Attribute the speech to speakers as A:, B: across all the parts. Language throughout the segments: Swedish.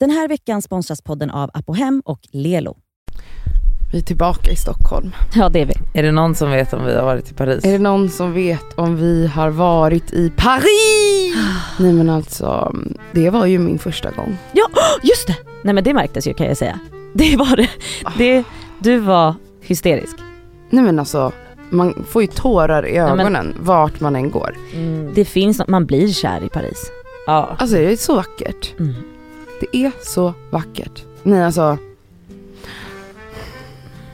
A: Den här veckan sponsras podden av Apohem och Lelo.
B: Vi är tillbaka i Stockholm.
A: Ja, det är vi.
C: Är det någon som vet om vi har varit i Paris?
B: Är det någon som vet om vi har varit i Paris? Nej men alltså, det var ju min första gång.
A: Ja, åh, just det! Nej men det märktes ju kan jag säga. Det var det. det du var hysterisk.
B: Nej men alltså, man får ju tårar i
A: men-
B: ögonen vart man än går.
C: Mm.
A: Det finns något, man blir kär i Paris.
C: Ja.
B: Alltså det är så vackert.
A: Mm.
B: Det är så vackert. Nej alltså,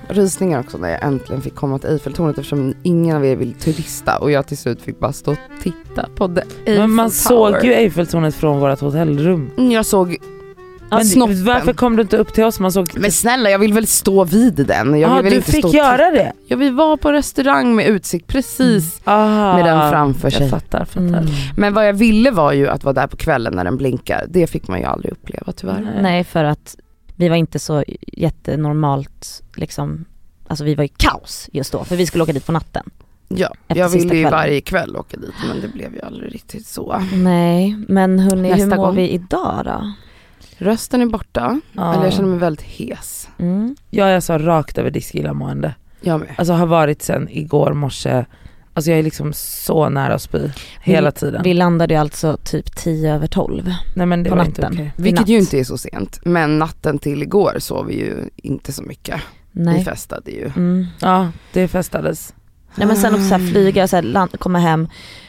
B: rysningar också när jag äntligen fick komma till Eiffeltornet eftersom ingen av er vill turista och jag till slut fick bara stå och titta på the Eiffel
C: Men
B: Tower.
C: man såg ju Eiffeltornet från vårt hotellrum.
B: Mm, Jag såg
C: Men
A: Alltså,
C: det-
B: snoppen.
C: varför kom du inte upp till oss? Man såg...
B: Men snälla jag vill väl stå vid den. Jag
C: Ja,
B: vill väl
C: du
B: inte
C: fick
B: stå och
C: göra det?
B: Ja vi var på restaurang med utsikt precis
C: Ah,
B: med den framför
C: Jag
B: sig.
C: fattar, fattar.
A: Mm.
B: Men vad jag ville var ju att vara där på kvällen när den blinkar. Det fick man ju aldrig uppleva tyvärr.
A: Nej, för att vi var inte så jättenormalt liksom, alltså vi var ju kaos just då för vi skulle åka dit på natten.
B: Ja,
A: Efter
B: jag
A: sista
B: ville ju
A: kvällen.
B: varje kväll åka dit men det blev ju aldrig riktigt så.
A: Nej, men hörni, hur mår
B: Nästa gång.
A: vi idag då?
B: Rösten är borta,
A: Ah.
C: Ja.
B: eller jag känner mig väldigt hes.
A: Mm.
C: Ah. Ja, jag sa rakt över disk illamående.
B: Jag med.
C: Alltså har varit sen igår morse. Alltså jag är liksom så nära att spy. Hela tiden.
A: Vi landade ju alltså typ 10 över 12
C: Nej men det
A: på
C: var inte
A: natten.
C: okej.
A: I
B: Vilket
A: natt.
B: ju inte är så sent. Men natten till igår sov vi ju inte så mycket. Vi
A: Nej.
B: festade ju.
A: Mm.
C: Ja, det festades.
A: Nej men sen också så här flyga, så här land, komma hem.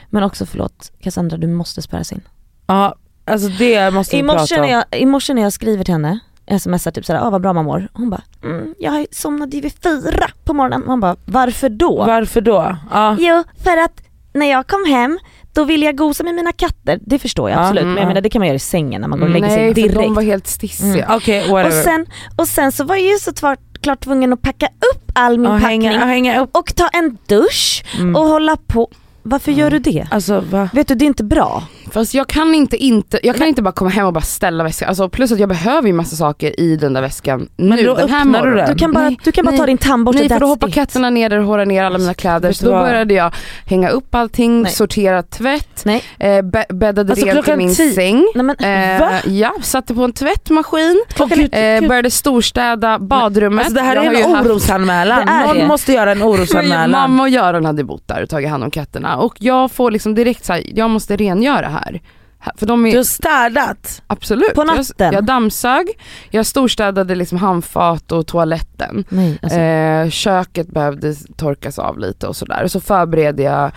A: Men också förlåt Cassandra du måste spärras in.
C: Ja, alltså det måste vi
A: I morse,
C: prata om.
A: när jag, I morse när jag skriver till henne, smsar typ såhär, ah, vad bra man mår. Hon bara, mm, jag somnade ju vid fyra på morgonen. Man bara, varför då?
C: Varför då? Ja.
A: Jo, för att när jag kom hem då ville jag gosa med mina katter, det förstår jag
C: Ja,
A: absolut
B: mm,
A: men jag
B: ja.
A: menar det kan man göra i sängen när man går och
C: Mm.
A: lägger sig
B: Nej för de
A: direkt. Mm.
B: var helt stissiga.
C: Okej, whatever.
A: Och sen, och sen så var jag ju såklart tvungen att packa upp all min
C: Ja,
A: packning
C: hänga, ja, hänga upp.
A: och ta en dusch
C: Mm.
A: och hålla på. Varför gör du det?
C: Alltså va?
A: Vet du det är inte bra.
B: Fast jag kan inte, inte, jag kan inte bara komma hem och bara ställa väskan. Alltså, plus att jag behöver ju massa saker i den där väskan
C: Men
B: nu
C: då
B: den här
C: öppnar du
B: morgonen.
C: den.
A: Du kan bara,
B: Nej,
A: du kan bara
B: nej,
A: ta din tandborste,
B: Nej för då
A: that's
B: hoppar
A: it.
B: katterna ner där och hårar ner alla mina kläder.
C: Alltså, Vet
B: Så
C: du
B: då
C: vad?
B: började jag hänga upp allting,
A: Nej.
B: sortera tvätt,
A: Nej.
B: eh, bä- bäddade
C: Alltså,
B: rent i
C: klockan
B: min
C: tio.
B: säng.
A: Nej, men,
C: Va?
B: Eh, ja, satte på en tvättmaskin,
C: Åh, gud,
B: eh,
C: gud.
B: började storstäda badrummet.
C: Alltså det här
B: Jag har
C: är
B: ju
C: en
B: haft-
C: orosanmälan.
A: Det är
C: Någon
A: det.
C: måste göra en orosanmälan.
B: Mamma och Göran hade bott där och tagit hand om katterna och jag får liksom direkt såhär, jag måste rengöra här. För de är
C: Du har städat.
B: Absolut.
A: På natten?
B: Jag, jag dammsög, jag storstädade liksom handfat och toaletten.
A: nej, alltså,
B: Eh, köket behövde torkas av lite och sådär. Och så förberedde jag eh,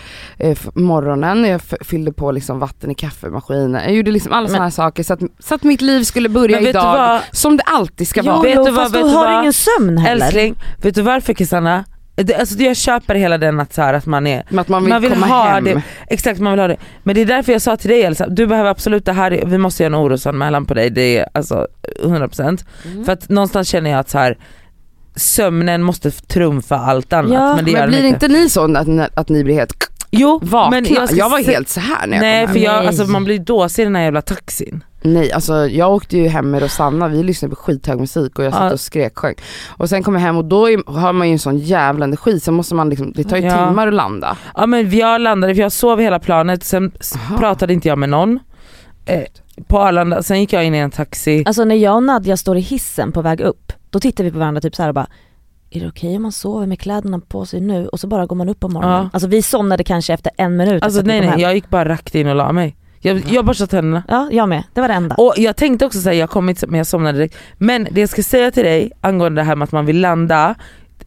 B: f- morgonen, jag f- fyllde på liksom vatten i kaffemaskinen. Jag gjorde liksom alla
A: Men-
B: sådana här saker så att, så att mitt liv skulle börja
C: Men vet du
B: idag
C: vad?
B: som det alltid ska
A: jo,
B: vara.
C: vet
A: jo,
C: du vad,
A: fast
C: vet
A: då
C: du
A: har du
C: vad?
A: ingen sömn heller.
C: Älskling, vet du varför Cassandra? Det, alltså, jag köper hela den att, så här, att man är
B: Men att man vill,
C: man vill
B: komma
C: ha
B: hem.
C: det. Exakt man vill ha det. Men det är därför jag sa till dig Elsa, du behöver absolut det här, vi måste göra en orosanmälan på dig, det är alltså 100%.
B: Mm.
C: För att någonstans känner jag att så här, sömnen måste trumfa allt annat.
A: Ja,
C: men det gör
B: Men
C: den
B: blir
C: inte.
B: inte ni så att, att ni blir helt
C: Jo,
B: vakna?
C: men
B: jag,
C: ska
B: var
C: se-
B: helt så här när jag
C: Nej
B: kom
C: för
B: hem.
C: jag,
A: Nej.
C: alltså, man blir dåsig i den här jävla taxin.
B: Nej alltså jag åkte ju hem med Rosanna, vi lyssnade på skithög musik och jag
C: Ja.
B: satt och skrek sjöng. Och sen kom jag hem och då är, har man ju en sån jävla energi, sen måste man liksom, det tar ju
C: Ja.
B: timmar att landa.
C: Ja men jag landade, för jag sov hela planet, sen s-
B: Aha.
C: pratade inte jag med någon eh, på Arlanda, sen gick jag in i en taxi.
A: Alltså när jag och Nadja står i hissen på väg upp, då tittar vi på varandra typ så här och bara är det okej om man sover med kläderna på sig nu och så bara går man upp på morgonen?
C: Ja.
A: Alltså vi somnade kanske efter en minut.
C: Alltså
A: efter att vi
C: nej
A: kom
C: nej,
A: hem.
C: jag gick bara rakt in och la mig. Jag, jag borstade tänderna.
A: Ja, jag med. Det var det enda.
C: Och jag tänkte också säga jag kom inte men jag somnade direkt. Men det jag ska säga till dig angående det här med att man vill landa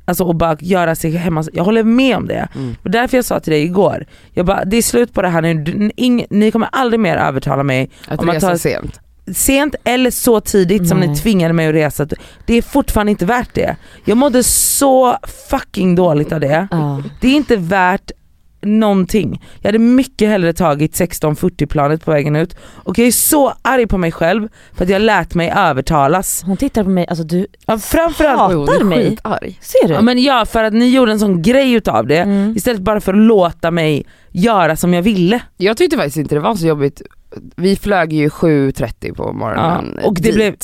C: Alltså och bara göra sig hemma, jag håller med om det.
B: Mm.
C: Och därför jag sa till dig igår, jag bara det är slut på det här nu, Du- ing, ni kommer aldrig mer övertala mig
B: Att
C: Om man
B: resa
C: tar-
B: sent.
C: sent eller så tidigt som
A: Nej.
C: ni tvingade mig att resa. Det är fortfarande inte värt det. Jag mådde så fucking dåligt av det.
A: ja.
C: Det är inte värt någonting. Jag hade mycket hellre tagit 16.40 planet på vägen ut och jag är så arg på mig själv för att jag lät mig övertalas.
A: Hon tittar på mig, alltså du,
C: Ja, framförallt,
A: Hatar
B: Jo, det är
A: mig.
B: skitarg.
A: ser du?
C: ja, men ja, för att ni gjorde en sån grej utav det
A: Mm.
C: istället bara för att låta mig göra som jag ville.
B: Jag tyckte faktiskt inte det var så jobbigt. Vi flög ju 7.30 på morgonen
C: Ja, och det
B: dit.
C: blev-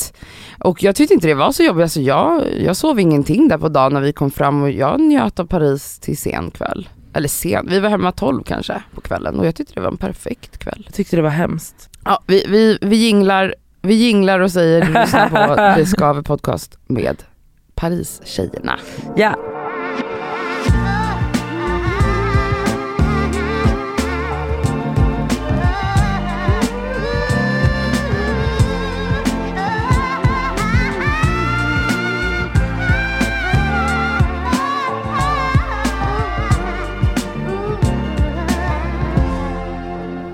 B: och jag tyckte inte det var så jobbigt, alltså jag, jag sov ingenting där på dagen när vi kom fram och jag njöt av Paris till sen kväll. Eller sen, vi var hemma 12 kanske på kvällen och jag tyckte det var en perfekt kväll.
C: Jag tyckte det var hemskt.
B: Ja, vi, vi, vi jinglar, Vi jinglar och säger du lyssnar på Det Skaver Podcast med Paris-tjejerna.
C: Ja.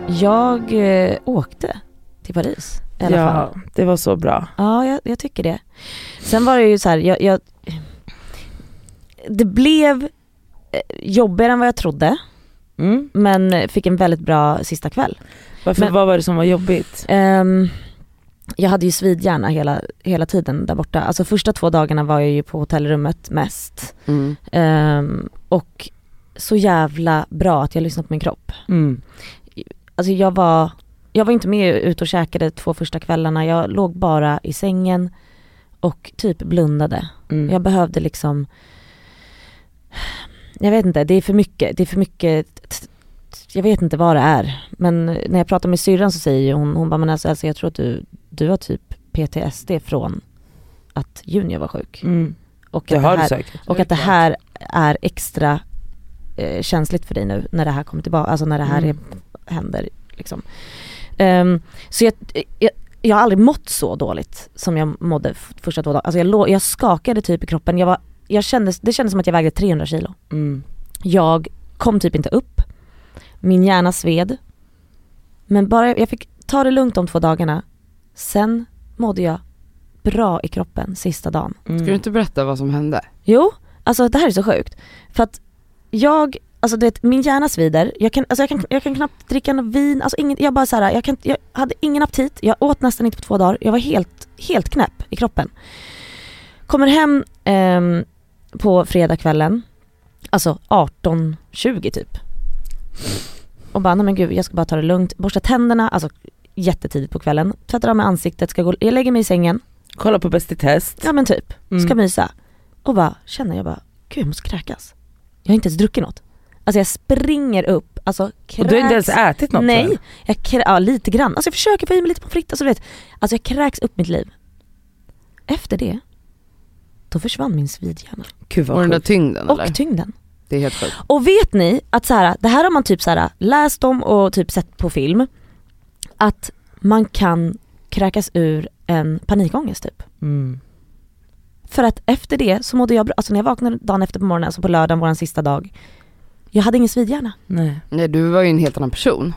A: Jag eh, åkte till Paris i alla fall.
C: ja, det var så bra.
A: Ja, jag, jag tycker det. Sen var det ju så här, jag, jag, det blev eh, jobbigare än vad jag trodde
C: Mm.
A: men eh, fick en väldigt bra sista kväll.
C: Varför,
A: Men-
C: vad var det som var jobbigt?
A: Ehm, jag hade ju svidhjärna hela, hela tiden där borta. Alltså första två dagarna var jag ju på hotellrummet mest.
B: Mm.
A: Ehm, och så jävla bra att jag lyssnade på min kropp.
C: Mm.
A: Alltså jag var, jag var inte med ute och käkade två första kvällarna. Jag låg bara i sängen och typ blundade.
C: Mm.
A: Jag behövde liksom Jag vet inte, det är för mycket, det är för mycket Jag vet inte vad det är Men när jag pratar med syrran så säger ju hon, hon bara men alltså, alltså jag tror att du, du har typ PTSD från att Junior var sjuk
C: Mm.
A: Och
C: Det
A: att
C: har
A: det
C: du
A: här,
C: säkert.
A: och att det här är extra eh, känsligt för dig nu när det här kommer tillbaka, alltså när det här
C: Mm.
A: är, händer liksom. Ehm, så jag, jag, jag har aldrig mått så dåligt som jag mådde f- första två dagarna. Alltså jag, lå- jag skakade typ i kroppen, jag var, jag kändes, det kändes som att jag vägde 300 kilo.
C: Mm.
A: Jag kom typ inte upp, min hjärna sved. Men bara jag fick ta det lugnt de två dagarna, sen mådde jag bra i kroppen sista dagen.
B: Ska
C: Mm.
B: du inte berätta vad som hände?
A: Jo, alltså det här är så sjukt. För att jag, alltså du vet, min hjärna svider, jag kan, alltså jag kan, jag kan knappt dricka något vin, alltså ingen, jag bara så här, jag, kan, jag hade ingen aptit, jag åt nästan inte på två dagar, jag var helt, helt knäpp i kroppen. Kommer hem ehm, på fredagskvällen, alltså 18.20 typ. Och bara, nej men gud jag ska bara ta det lugnt, borsta tänderna, alltså jättetidigt på kvällen, tvättar av mig ansiktet, ska gå, jag lägger mig i sängen,
C: Kolla på Bäst i test.
A: ja men typ
C: Mm.
A: ska mysa. Och bara känner jag bara, gud jag måste kräkas. Jag har inte ens druckit något. Alltså jag springer upp, alltså kräks.
C: och du har inte ens ätit något
A: Nej,
C: än.
A: jag krä- ja, lite grann. Alltså jag försöker få i mig lite pommes frites, alltså du vet. Alltså jag kräks upp mitt liv. Efter det, då försvann min svidhjärna.
C: Gud
B: Och den
C: vad
B: där
C: sjukt.
B: tyngden eller?
A: Och tyngden.
B: Det är helt sjukt.
A: Och vet ni att så här, det här har man typ så här, läst om och typ sett på film. Att man kan kräkas ur en panikångest typ.
C: Mm.
A: För att efter det så mådde jag bra, alltså när jag vaknade dagen efter på morgonen, alltså på lördagen, våran sista dag. Jag hade ingen svidhjärna.
C: Nej.
B: Nej du var ju en helt annan person.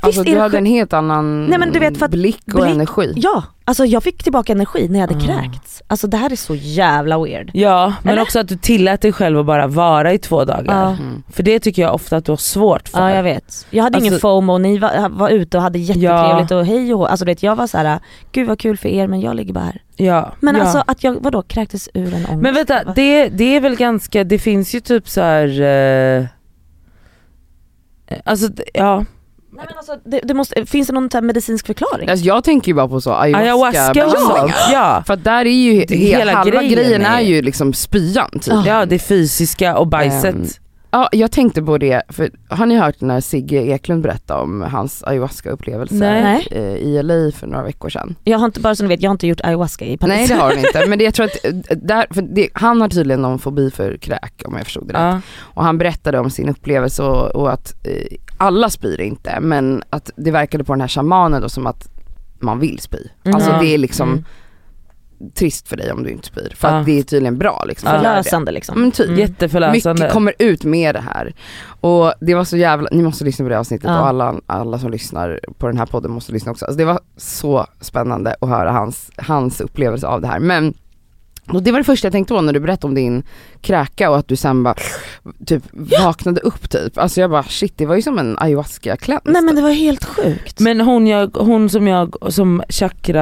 B: Alltså
A: är det
B: du hade
A: sjukt?
B: en helt annan
A: Nej, men du vet, för att
B: blick och
A: blick-
B: energi.
A: Ja, alltså jag fick tillbaka energi när jag hade
C: Ah.
A: kräkts. Alltså det här är så jävla weird.
C: Ja men
A: Eller?
C: också att du tillät dig själv att bara vara i två dagar.
A: Ja,
B: Mm.
C: För det tycker jag ofta att du har svårt för.
A: ja jag vet. Jag hade ingen
C: Alltså-
A: fomo, ni var, var ute och hade jättetrevligt och hej och hå. Alltså du vet jag var så här: gud vad kul för er men jag ligger bara här.
C: Ja,
A: Men
C: ja.
A: alltså att jag, vadå kräktes ur en ångest?
C: Men vänta, det, det är väl ganska, det finns ju typ så här. Eh, alltså d- ja,
A: Nej, men alltså, det, det måste, finns det någon så här medicinsk förklaring?
B: Alltså jag tänker ju bara på så ayahuasca. alltså,
C: ayahuasca och sånt. Ja.
B: För att där är ju,
C: Det- hela
B: hela halva
C: grejen
B: grejen, är
C: är-
B: ju liksom spyan typ.
A: Ja.
C: ja, det fysiska och bajset.
B: Ehm, Ja, jag tänkte på det, för har ni hört när Sigge Eklund berättade om hans
C: Nej.
B: ayahuasca-upplevelse
A: Nej.
B: eh, i LA för några veckor sedan?
A: Jag har inte, bara så ni vet, jag har inte gjort ayahuasca i Paris.
B: Nej det har hon inte, men det, jag tror att eh, där, för det, han har tydligen någon fobi för kräk om jag förstod det rätt.
C: Ja.
B: Och han berättade om sin upplevelse och, och att eh, alla spyr inte men att det verkade på den här shamanen då som att man vill spy.
A: Mm.
B: Alltså
C: Ja.
B: det är liksom
A: Mm.
B: trist för dig om du inte spyr för
C: Ja.
B: att det är tydligen bra liksom. att göra det.
A: Förlösande liksom.
B: Men typ.
A: Mm.
C: Jätteförlösande.
B: Mycket kommer ut med det här. Och det var så jävla, ni måste lyssna på det avsnittet
A: Ja.
B: och alla, alla som lyssnar på den här podden måste lyssna också. Alltså det var så spännande att höra hans, hans upplevelse av det här. Men och det var det första jag tänkte på när du berättade om din kräka och att du sen bara typ vaknade upp typ. Alltså jag bara shit det var ju som en typ. ayahuasca cleanse.
A: Nej men det var helt sjukt.
C: Men hon, jag, hon som jag, som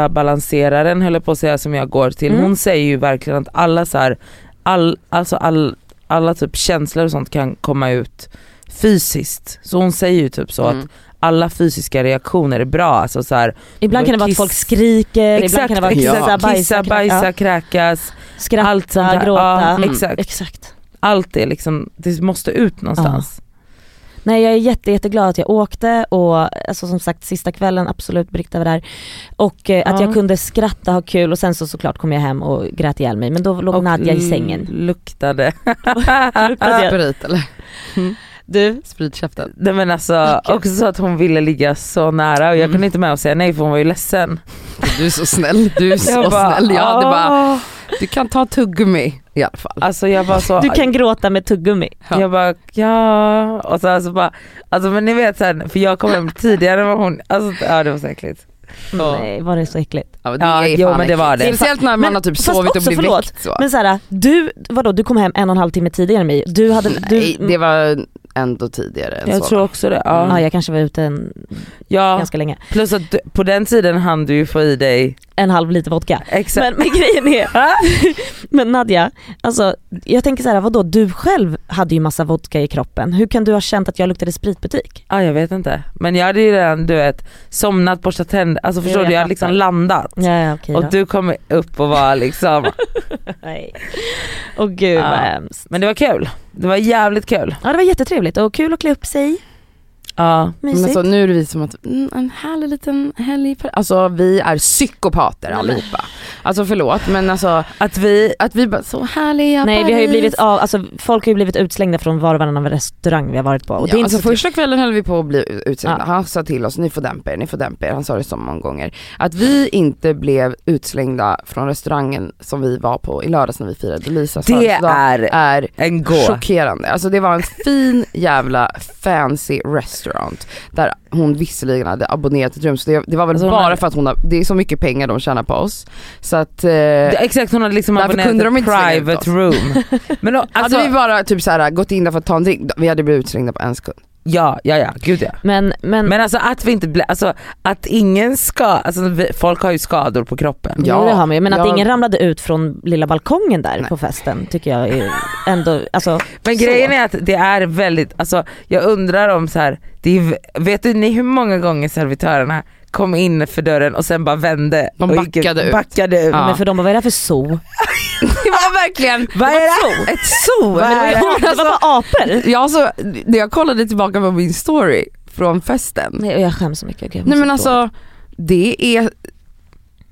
C: chakrabalanseraren höll jag på att säga som jag går till,
A: Mm.
C: hon säger ju verkligen att alla så här, all, alltså all, alla typ känslor och sånt kan komma ut fysiskt. Så hon säger ju typ så att
B: Mm.
C: alla fysiska reaktioner är bra. Alltså så här,
A: Ibland kan det vara att folk skriker, ibland kan det vara
C: exakt,
A: kissa,
C: ja.
A: bajsa,
C: kissa, bajsa,
A: ja.
C: kräkas,
A: skratta,
C: allt sånt här.
A: gråta.
C: Ja,
B: Mm.
C: exakt.
A: Exakt.
C: Allt är liksom, det måste ut någonstans.
A: Nej jag är jätte, jätteglad att jag åkte och alltså, som sagt sista kvällen, absolut Britta var där. Och eh, att
C: Ja.
A: jag kunde skratta, ha kul och sen så såklart kom jag hem och grät ihjäl mig men då låg
C: Och
A: Nadja i sängen.
C: l- Luktade.
A: Luktade jag.
B: Sprit eller
A: Du?
B: spritkäften.
C: Nej men alltså också att hon ville ligga så nära och jag
B: Mm.
C: kunde inte med och säga nej för hon var ju ledsen.
B: Du är så snäll, du är så
C: jag "Ah."
B: snäll. Jag hade bara,
C: "Åh."
B: du kan ta tuggummi i alla fall.
C: Alltså jag bara så,
A: Du kan gråta med tuggummi.
B: Ja.
C: jag bara ja och så alltså bara, alltså men ni vet sen för jag kom hem tidigare än vad hon, alltså ja det var så äckligt.
A: Mm, Nej var det så äckligt?
B: Ja, men
C: Ja,
B: är
C: jo,
B: fan
C: men det
B: äckligt.
C: var det.
B: Speciellt när man
A: Men-
B: har typ
A: fast
B: sovit och
A: också,
B: blivit
A: förlåt,
B: väckt så.
A: Men såhär, du, vadå du kom hem en och en halv timme tidigare än mig. Du hade, du,
B: Nej, det var ändå tidigare än
C: Jag
B: så.
C: tror också det.
A: ja.
C: Ja.
A: jag kanske var ute en,
C: Mm. ja.
A: ganska länge.
C: Plus att du, på den tiden hann du ju få i dig,
A: En halv liter vodka.
C: exakt.
A: Men, men grejen är, men Nadja, alltså, jag tänker såhär vadå du själv hade ju massa vodka i kroppen. Hur kan du ha känt att jag luktade spritbutik?
C: Ja jag vet inte. Men jag hade ju redan du vet somnat, borstat tänder, alltså förstår
A: jag
C: du jag
A: fattar.
C: hade liksom landat.
A: Ja, ja okej då.
C: Och du kom upp och var liksom,
A: Nej. Åh gud
C: Ja.
A: vad hemskt.
C: men det var kul. Det var jävligt kul.
A: Ja det var jättetrevligt och kul att klä upp sig,
C: Ja.
A: mysigt.
B: Men alltså, nu är det vi som att, mm, en härlig liten helg. i Paris. Alltså vi är psykopater allihopa. Alltså förlåt men alltså
C: Att vi,
B: att vi bara så härliga
A: Nej vi har ju
B: Paris.
A: blivit av, alltså folk har ju blivit utslängda från var och varannan restaurang vi har varit på. Och det är
B: ja,
A: inte
B: alltså
A: så
B: första kvällen höll vi på att bli utslängda.
A: Ja.
B: Han sa till oss, ni får dämpa er, ni får dämpa er. Han sa det så många gånger. Att vi inte blev utslängda från restaurangen som vi var på i lördags när vi firade Lisas
C: det
B: födelsedag
C: är
B: är
C: en gå.
B: chockerande. Alltså det var en fin jävla fancy restaurant där hon visserligen hade abonnerat ett rum så det, det var väl
C: Alltså hon
B: bara
C: hade-
B: för att hon har, det är så mycket pengar de tjänar på oss. Så att eh,
C: Det- Exakt hon hade liksom
B: Därför kunde
C: abonnerat
B: de
C: ett
B: inte slänga ut
C: private room. Men då, alltså,
B: hade vi bara typ så här, gått in där för att ta en drink, vi hade blivit utslängda på en sekund.
C: ja, ja, ja, gud ja.
A: Men, men,
C: Men alltså att vi inte blev, alltså att ingen ska, alltså vi, folk har ju skador på kroppen.
A: ja, det har man ju. Men att
B: jag-
A: ingen ramlade ut från lilla balkongen där
B: Nej.
A: på festen tycker jag är ändå, alltså
C: Men
A: Så.
C: grejen är att det är väldigt, alltså jag undrar om så här, det är, vet du ni hur många gånger servitörerna kom in för dörren och sen bara vände
B: De
C: och gick
B: backade ut.
C: backade ut.
B: Ja.
A: men för de bara vad är det här för zoo?
B: Det var verkligen
C: Vad är det? Ett zoo? Vad är det?
A: det var bara apor!
B: jag så, när jag kollade tillbaka på min story från festen.
A: Nej, och jag skäms så mycket. Gud, jag mår
B: Nej men
A: så dåligt.
B: alltså det är,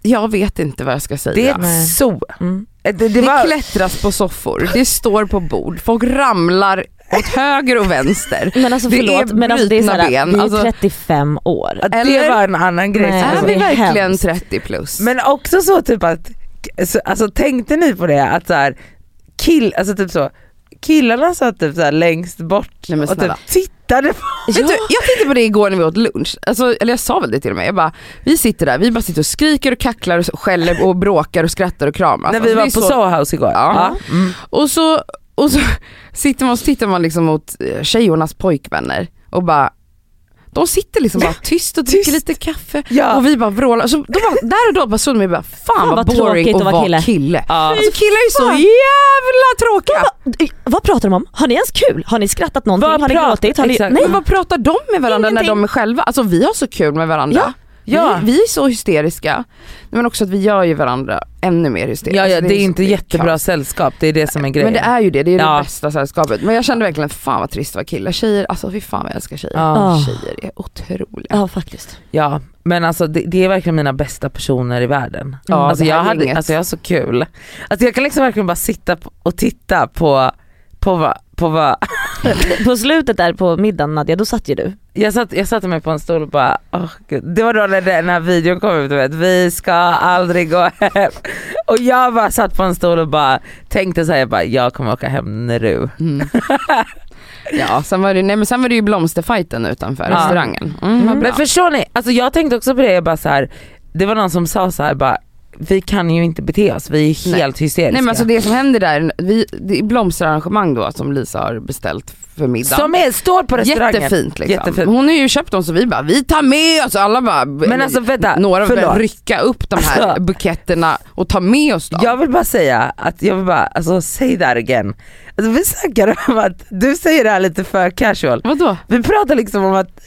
B: jag vet inte vad jag ska säga.
C: Det är
A: Nej.
C: ett zoo.
A: Mm.
C: Det, Eh, det,
B: Det,
C: var,
B: klättras på soffor, det står på bord, folk ramlar åt höger och vänster.
A: Men alltså
B: det är
A: förlåt, men alltså, det är
B: brutna
A: såhär,
B: ben,
A: vi är
B: alltså.
A: 35 år.
C: att det
B: Eller?
C: var en annan grej.
A: Nej.
C: som jag
B: Är
A: Alltså,
C: såg.
B: vi
A: det är
B: verkligen
A: hemskt.
B: 30 plus?
C: Men också så typ att, så- alltså tänkte ni på det att så här, kill, alltså typ så, killarna satt typ så här längst bort
B: Nej, men
C: och
B: snälla.
C: typ tittade på typ,
B: Vet du, jag tänkte på det igår när vi åt lunch, alltså, eller jag sa väl det till och med, jag bara, vi sitter där, vi bara sitter och skriker och kacklar och skäller och bråkar och skrattar och kramas.
C: när vi
B: Alltså,
C: var
B: det är
C: på
B: så-
C: Soho House igår.
B: Ja. Och så, och så sitter man, och så tittar man liksom mot eh, tjejornas pojkvänner och bara de sitter liksom bara tyst och dricker
C: Tyst.
B: lite kaffe
C: Ja.
B: och vi bara vrålar. Så då var, där och då bara såg de mig bara fan vad,
A: vad
B: boring
A: tråkigt
B: att
A: att vara
B: vara
A: kille.
B: kille.
C: Ja.
B: Alltså killar är ju så jävla tråkiga.
A: Va- Vad pratar de om? Har ni ens kul? Har ni skrattat någonting?
C: Vad
A: har ni
C: pratar-
A: gråtit? Har ni...
C: Exakt.
A: Nej,
B: Men vad pratar de med varandra
A: Ingenting.
B: när de är själva? Alltså vi har så kul med varandra.
A: Ja.
C: Ja.
B: Vi, vi är så hysteriska. Men också att vi gör ju varandra ännu mer hysteriska.
C: Ja, ja
B: Alltså,
C: det är
B: så-
C: inte jättebra
B: kaos.
C: sällskap, det är det som är grejen.
B: Men det är ju det, det är
C: Ja.
B: det bästa sällskapet. Men jag kände verkligen fan vad trist att vara kille. Tjejer, alltså fy fan vad jag älskar tjejer.
C: Ja. Ah.
B: Tjejer är otroliga.
A: ja faktiskt.
C: ja, men alltså det, det är verkligen mina bästa personer i världen.
B: Ja,
C: alltså,
B: det här
C: jag hade,
B: gänget.
C: alltså jag har så kul. Alltså jag kan liksom verkligen bara sitta på- och titta på, på vad, på vad
A: På slutet där på middagen Nadja, då satt ju du.
C: Jag, satt, jag satte mig på en stol och bara, åh gud. det var då när den här videon kom ut, du vet, vi ska aldrig gå hem. Och jag bara satt på en stol och bara tänkte såhär, jag bara, jag kommer åka hem nu.
B: Mm. ja, sen var, det, nej, men sen var det ju blomsterfighten utanför
C: Ja.
B: restaurangen. Mm, vad bra.
C: Men förstår ni, alltså jag tänkte också på det, jag bara så här, det var någon som sa så här, bara, vi kan ju inte bete oss, vi är
B: Nej.
C: helt hysteriska.
B: Nej men alltså det som händer där, vi, det är blomsterarrangemang då som Lisa har beställt för middag.
C: som är, står på restaurangen.
B: Jättefint liksom.
C: Jättefint.
B: Hon har ju köpt dem så vi bara, vi tar med oss alla bara.
C: Men alltså vänta,
B: några
C: förlåt.
B: börjar rycka upp de här
C: Alltså.
B: buketterna och ta med oss dem.
C: Jag vill bara säga att jag vill bara, alltså say that again. Alltså vi snackar om att, du säger det här lite för casual.
B: Vadå?
C: Vi pratar liksom om att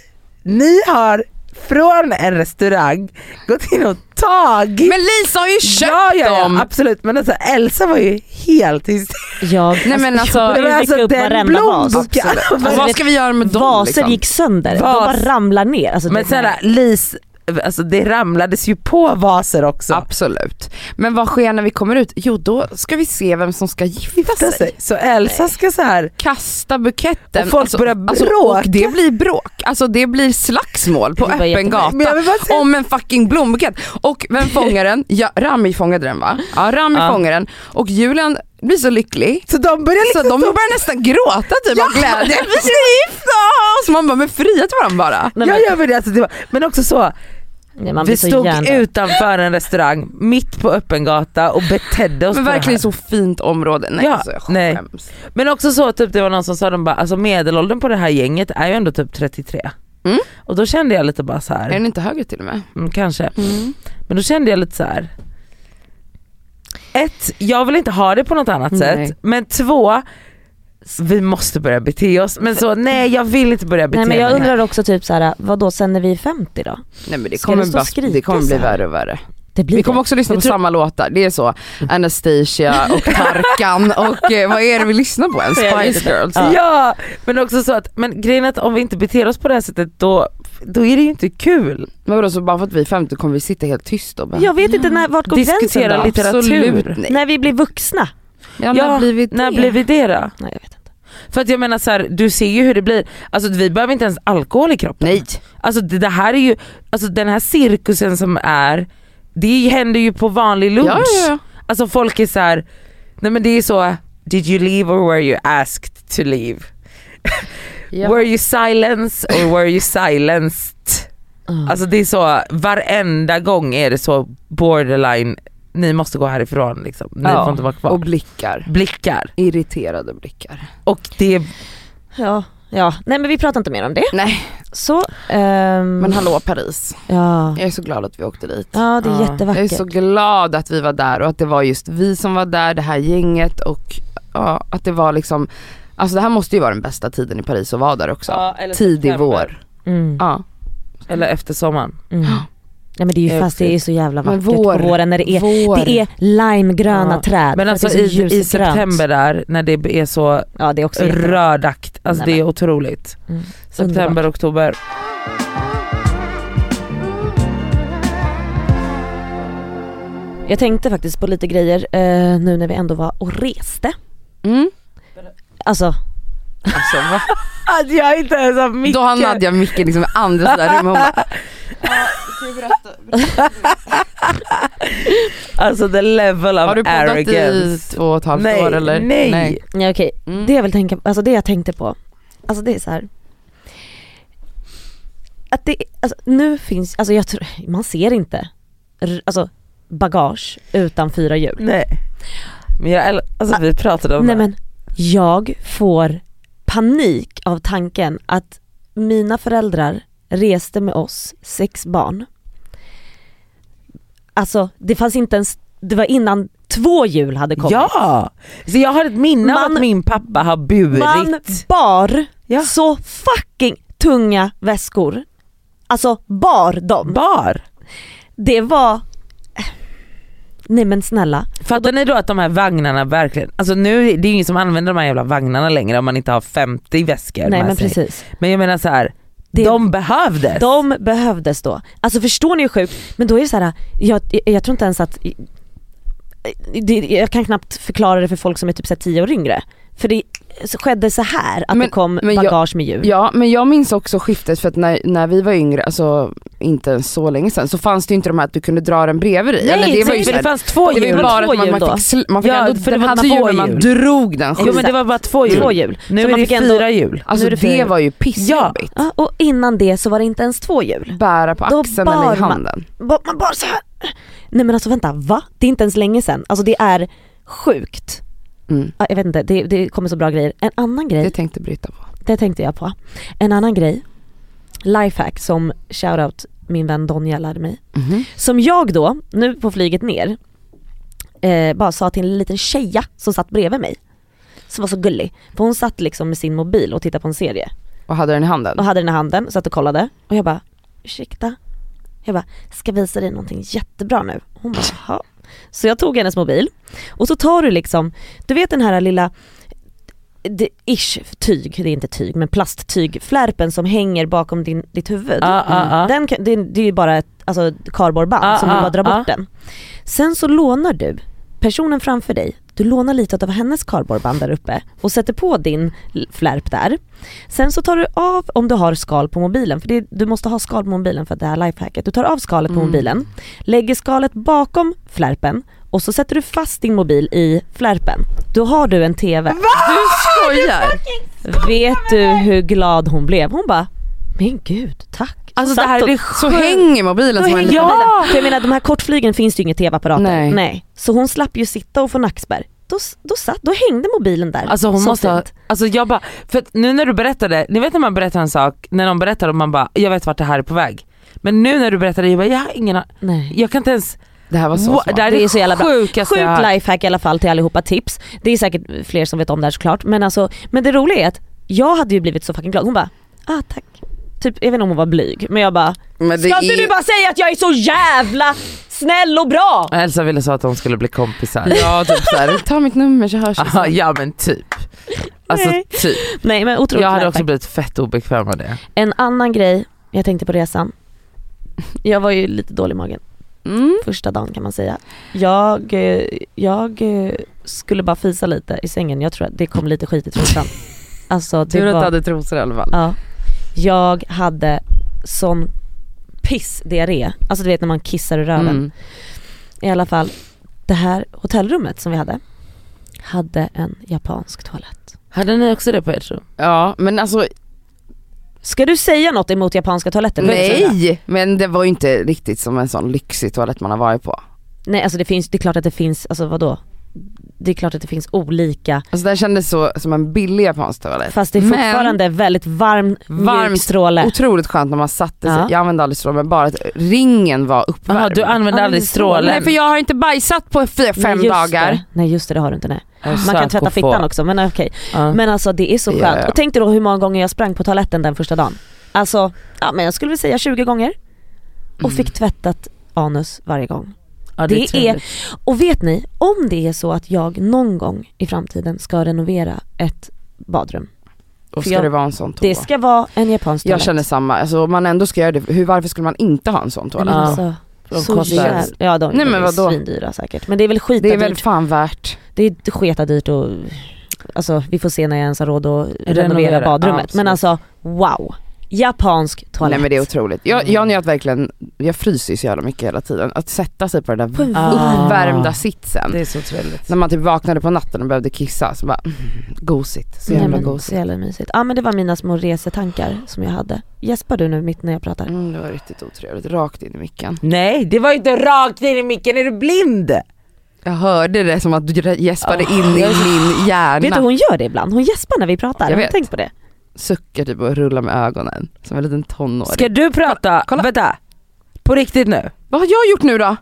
C: ni har från en restaurang gått in och tagit.
B: Men Lisa har ju köpt
C: ja, ja, ja,
B: dem!
C: absolut men alltså Elsa var ju helt hysterisk.
A: Jag,
B: Nej, men alltså-
A: jag
B: Det
A: började
C: var
A: rycka
C: alltså
A: upp
C: den
A: varenda vas.
C: blombuketten.
B: Absolut.
C: Alltså,
B: Alltså, vad
A: vet-
B: ska vi göra med dem
A: Vaser
B: liksom?
A: gick sönder, de
C: Vas.
A: bara ramlar ner. Alltså,
C: Men
A: det-
C: snälla Lis, alltså det ramlades ju på vaser också.
B: Absolut. Men vad sker när vi kommer ut? Jo då ska vi se vem som ska gifta sig.
C: Gifta sig. Så Elsa ska så här
B: Kasta buketten. Alltså,
C: Och folk börjar
B: och
C: bråka.
B: det blir bråk. Alltså det blir slagsmål på
A: Det var
B: öppen
A: jättebra.
B: gata
C: Men jag vill bara säga-
B: om en fucking blombukett. Och vem fångar den? Ja, Rami fångade den va? Ja, Rami
C: Ja.
B: fångar den. Och Julian blir så lycklig
C: Så de börjar
B: så
C: liksom
B: de börjar nästan gråta typ av glädje. Vi ska gifta oss! Man bara, men fria till varandra bara.
A: Nej,
C: jag
A: men-
C: gör väl det, alltså, det var, men också så,
A: Nej, man blir
C: vi
A: så
C: stod
A: hjärndöd.
C: utanför en restaurang mitt på öppen gata och betedde oss
B: Men
C: på det
B: verkligen
C: här.
B: så fint område. Nej
C: Ja,
B: alltså jag
C: nej.
B: skäms.
C: Men också så, typ, det var någon som sa de bara, alltså medelåldern på det här gänget är ju ändå typ 33.
B: Mm.
C: Och då kände jag lite bara så
B: Är den
C: här,
B: inte högre till och med?
C: mm, kanske. Men då kände jag lite så här. Ett, jag vill inte ha det på något annat
B: Nej.
C: sätt. Men två, vi måste börja bete oss. Men så nej jag vill inte börja bete
A: Nej men
C: mig.
A: jag undrar också typ såhär, vad då sen när vi är 50 då?
B: Nej men det
A: Ska det
B: kommer,
A: stå
B: bara,
A: skrika
B: det kommer
A: så
B: bli
A: här?
B: värre och värre.
A: Det blir
B: Vi kommer
A: det.
B: också lyssna på
A: Jag tror-
B: samma låtar, det är så Anastasia och Tarkan och eh, vad är det vi lyssnar på ens?
A: Jag vet
B: Spice Girls.
A: Ja.
C: Ja men också så att, men grejen är att om vi inte beter oss på det här sättet då, då är det ju inte kul.
B: Men vadå så bara för att vi är 50 kommer vi sitta helt tyst och bara,
A: Jag vet inte när, vart går gränsen
C: Diskutera
A: då?
C: lite. litteratur.
B: Absolut nej.
A: När vi blir vuxna?
B: Ja, när blir vi det?
C: när blir vi det då?
A: Nej jag vet inte.
C: För att jag menar så här, du ser ju hur det blir. Alltså vi behöver inte ens alkohol i kroppen.
B: Nej.
C: Alltså det, det här är ju, alltså den här cirkusen som är, det händer ju på vanlig lunch.
B: Ja, ja, ja.
C: Alltså folk är så här, nej men det är så, did you leave or were you asked to leave?
B: Ja.
C: Were you silenced or were you silenced?
B: Mm.
C: Alltså det är så, varenda gång är det så borderline, ni måste gå härifrån liksom, ni
B: Ja.
C: får inte vara kvar.
B: Och blickar.
C: blickar.
B: Irriterade blickar.
C: Och det,
A: Ja, ja. Nej men vi pratar inte mer om det.
B: Nej
A: Så, ehm,
B: men hallå Paris,
A: ja.
B: jag är så glad att vi åkte dit.
A: ja det är
C: Ja.
A: jättevackert.
B: Jag är så glad att vi var där och att det var just vi som var där, det här gänget och ja, att det var liksom, alltså det här måste ju vara den bästa tiden i Paris att vara där också.
C: Ja, eller
B: Tidig
C: september.
B: vår.
A: Mm,
B: Ja.
C: eller efter sommaren.
A: mm. Nej men det är ju
C: Jag
A: fast det är så jävla
B: Men
A: vackert på
B: vår.
A: våren när det är,
B: vår.
A: det är limegröna
C: Ja.
A: träd. för
C: Men
A: att
C: alltså
A: det är
C: i,
A: så
C: i
A: ljusgrönt.
C: september där när det är så
A: Ja det är också jättebra.
C: rödakt, alltså
A: Nej,
C: det är otroligt.
A: Mm.
C: September,
A: Underbart.
C: oktober.
A: Jag tänkte faktiskt på lite grejer eh, nu när vi ändå var och reste.
B: Mm.
A: Alltså
B: Alltså, va?
C: Att jag inte ens har mycket.
B: Då har Nadja micken liksom i andra sidan rummet och bara,
C: Alltså the level of
B: har du poddat i
C: arrogance.
B: två och ett halvt
C: nej,
B: år eller?
C: nej,
A: Nej okej,
B: Mm.
A: det jag vill tänka alltså det jag tänkte på, alltså det är så här. Att det, alltså, nu finns, alltså jag tror, man ser inte r- alltså, bagage utan fyra hjul.
C: nej. Men jag äl- alltså vi pratade om
A: Nej
C: det.
A: men jag får panik av tanken att mina föräldrar reste med oss sex barn. Alltså det fanns inte ens, det var innan två hjul hade kommit.
C: Ja! Så jag har ett minne av
A: Man-
C: att min pappa har burit.
A: Man bar
C: Ja.
A: så fucking tunga väskor. Alltså bar dem.
C: Bar.
A: Det var... Nej men snälla.
C: Fattar ni då att de här vagnarna verkligen, alltså nu det är ju ingen som använder de här jävla vagnarna längre om man inte har 50 väskor
A: Nej
C: med
A: men
C: sig.
A: precis.
C: Men jag menar så här,
A: Det-
C: de behövdes.
A: De behövdes då. Alltså förstår ni hur sjukt? Men då är det så här, jag, jag, jag tror inte ens att... det- Jag kan knappt förklara det för folk som är typ så här tio år yngre. För det skedde så här att
B: Men-
A: det kom
B: men jag-
A: bagage med djur.
B: Ja men jag minns också skiftet för att när, när vi var yngre, alltså inte ens så länge sedan, så fanns det ju inte de här att du kunde dra den bredvid dig.
C: Nej,
B: Eller
C: det,
B: var ju
C: för
B: så här-
C: det fanns två
B: Det var ju
C: hjul.
A: var
B: bara
A: två
B: att man, man
A: hjul då.
B: fick, sl- man fick
C: Ja,
B: ändå,
C: för
B: den
C: det var
B: hade
C: två
B: hjul men man
C: hjul.
B: drog den
C: Jo men det var bara två hjul.
A: Två hjul.
C: Nu
A: Så
C: är
A: man
C: det
A: fick ändå-
C: fyra hjul.
B: Alltså
A: nu är
B: det,
A: det fyra hjul.
B: var ju pissjobbigt.
A: Ja, och innan det så var det inte ens två hjul.
B: Bära på
A: Då
B: axeln
A: bar
B: eller i
A: man-
B: handen.
A: Ba- Man bara så här. Nej men alltså vänta, va? Det är inte ens länge sedan. Alltså det är sjukt.
B: Mm.
A: Ja, Jag vet inte, det, det kommer så bra grejer. En annan grej,
B: Det
A: det...
B: tänkte Britta på.
A: tänkte jag på. En annan grej, lifehack som shoutout min vän Donja lärde mig.
B: Mm-hmm.
A: Som jag då, nu på flyget ner, eh, bara sa till en liten tjeja som satt bredvid mig. Som var så gullig. För hon satt liksom med sin mobil och tittade på en serie.
B: Och hade den i handen.
A: Och hade den i handen, satt och kollade. Och jag bara, ursäkta? Jag bara, ska visa dig någonting jättebra nu. Hon bara, jaha. Så jag tog hennes mobil och så tar du liksom, du vet den här lilla det- ish tyg, det är inte tyg men plasttyg, flärpen som hänger bakom din, ditt huvud. Mm.
C: Ja, ja, ja.
A: Den kan, det, är- det är ju bara ett alltså, cardboardband
C: Ah,
A: som du
C: ah,
A: bara drar
C: ah.
A: bort den. Sen så lånar du personen framför dig, du lånar lite av hennes cardboardband där uppe och sätter på din l- flärp där. Sen så tar du av, om du har skal på mobilen, för det, du måste ha skal på mobilen för att det här lifehacket. Du tar av skalet på
B: Mm.
A: mobilen, lägger skalet bakom flärpen och så sätter du fast din mobil i flärpen. Då har du en TV.
B: Du skojar!
A: Vet du hur glad hon blev? Hon bara, men gud tack.
C: Alltså det
A: Satt
C: här är
A: och-
C: det
B: Så
C: sjukt.
B: hänger mobilen som en
A: hänger
B: liten-
C: Ja!
A: Alltså, För jag menar de här kortflygen finns det ju inga TV-apparater.
B: Nej.
A: Så hon slapp ju sitta och få nackspärr. Då, då, satt, då hängde mobilen där.
C: Alltså hon
A: Så
C: måste ha,
A: fint.
C: alltså jag bara, för att nu när du berättade, ni vet när man berättar en sak, när någon berättar och man bara jag vet vart det här är på väg. Men nu när du berättade, jag bara jag har ingen an-
A: Nej.
C: jag kan inte ens,
B: Det här var så
C: Wow,
B: smart.
C: det här
A: Det är
C: är
A: så jävla
C: det
A: bra.
C: sjukaste jag
A: Sjukt
C: har
A: lifehack i alla fall till allihopa, tips. Det är säkert fler som vet om det här såklart. Men, alltså, men det roliga är att jag hade ju blivit så fucking glad. Hon bara, ah tack. Typ, jag vet inte om hon var blyg men jag bara,
B: Men det
A: ska inte
B: är-
A: du bara säga att jag är så jävla snäll och bra?
C: Elsa ville så att de skulle bli kompisar.
B: Ja typ såhär, ta mitt nummer så hörs vi
C: Aha,
B: sen.
C: ja men typ. Alltså
A: Nej.
C: typ.
A: Nej men otroligt
C: Jag hade också
A: lifehack.
C: blivit fett obekväm av det.
A: En annan grej jag tänkte på resan. Jag var ju lite dålig i magen.
B: Mm.
A: första dagen kan man säga. Jag, eh, jag eh, skulle bara fisa lite i sängen, jag tror att det kom lite skit i trosan. Alltså det
B: Tur att du
A: var,
B: hade trosor i alla fall.
A: ja. Jag hade sån pissdiarré, alltså du vet när man kissar i röven.
B: Mm.
A: I alla fall, det här hotellrummet som vi hade, hade en japansk toalett.
C: Hade ni också det på ert rum?
B: Ja men alltså
A: Ska du säga något emot japanska toaletter?
B: nej! Men det var ju inte riktigt som en sån lyxig toalett man har varit på.
A: Nej alltså det finns, det är klart att det finns, alltså vadå? Det är klart att det finns olika
B: Alltså det här kändes så, som en billig japansk toalett.
A: Fast det är
B: Men-
A: fortfarande väldigt varm, mjuk
B: Varmt,
A: stråle.
B: Otroligt skönt när man satte sig,
A: Ja.
B: jag använde aldrig stråle men bara att ringen var uppvärmd.
C: Jaha du använde
A: Ja,
C: aldrig
A: men strålen.
C: strålen?
B: Nej för jag har inte bajsat på fyra,
A: Nej,
B: fem
A: just
B: dagar.
A: Det. Nej just det, det har du inte. Nej.
C: Jag är
A: Man kan tvätta
C: psykofob.
A: fittan också men okej.
C: Ja.
A: Men alltså det är så skönt.
B: Ja, ja.
A: Och tänk dig då hur många gånger jag sprang på toaletten den första dagen. Alltså, ja men jag skulle väl säga 20 gånger. Och
B: Mm.
A: fick tvättat anus varje gång.
C: Ja,
A: det är-
C: trevligt.
A: Och vet ni, om det är så att jag någon gång i framtiden ska renovera ett badrum.
B: Och
A: För
B: ska
A: jag-
B: det vara en sån toa?
A: Det ska vara en japansk
B: jag
A: toalett.
B: känner samma, alltså om man ändå ska göra det, hur, varför skulle man inte ha en sån
A: Men
B: toalett?
C: Ja.
A: alltså,
C: De
A: så
C: kostar-
A: jävla... Ja de,
B: Nej,
A: de
B: men
A: är
B: vadå?
A: svindyra säkert. Men det är väl skitdyrt.
B: Det är väl fan värt.
A: Det är sketadyrt och alltså vi får se när jag ens har råd att renovera,
C: Renovera, ja,
A: badrummet.
C: absolut.
A: men alltså wow, japansk toalett.
B: Nej men det är otroligt. Jag, jag njöt verkligen, jag fryser ju så jävla mycket hela tiden. Att sätta sig på den där
A: På en
C: Ah.
B: uppvärmda sitsen.
C: Det är så trevligt.
B: När man typ vaknade på natten och behövde kissa så bara, mm, gosigt. Så jävla
A: Nej, men, så
B: gosigt.
A: jävla mysigt. Ja men det var mina små resetankar som jag hade. Gäspar du nu mitt när jag pratar?
B: Mm, det var riktigt otrevligt, rakt in i micken.
C: Nej det var ju inte rakt in i micken, är du blind?
B: Jag hörde det som att du gäspade in i min
A: Vet
B: hjärna.
A: du hon gör det ibland, hon gäspar när vi pratar.
B: Jag
A: Har du
B: vet.
A: tänkt på det?
B: Suckar typ och rullar med ögonen som en liten tonåring.
C: Ska du prata,
B: kolla.
C: vänta, på riktigt nu.
B: Vad har jag gjort nu då?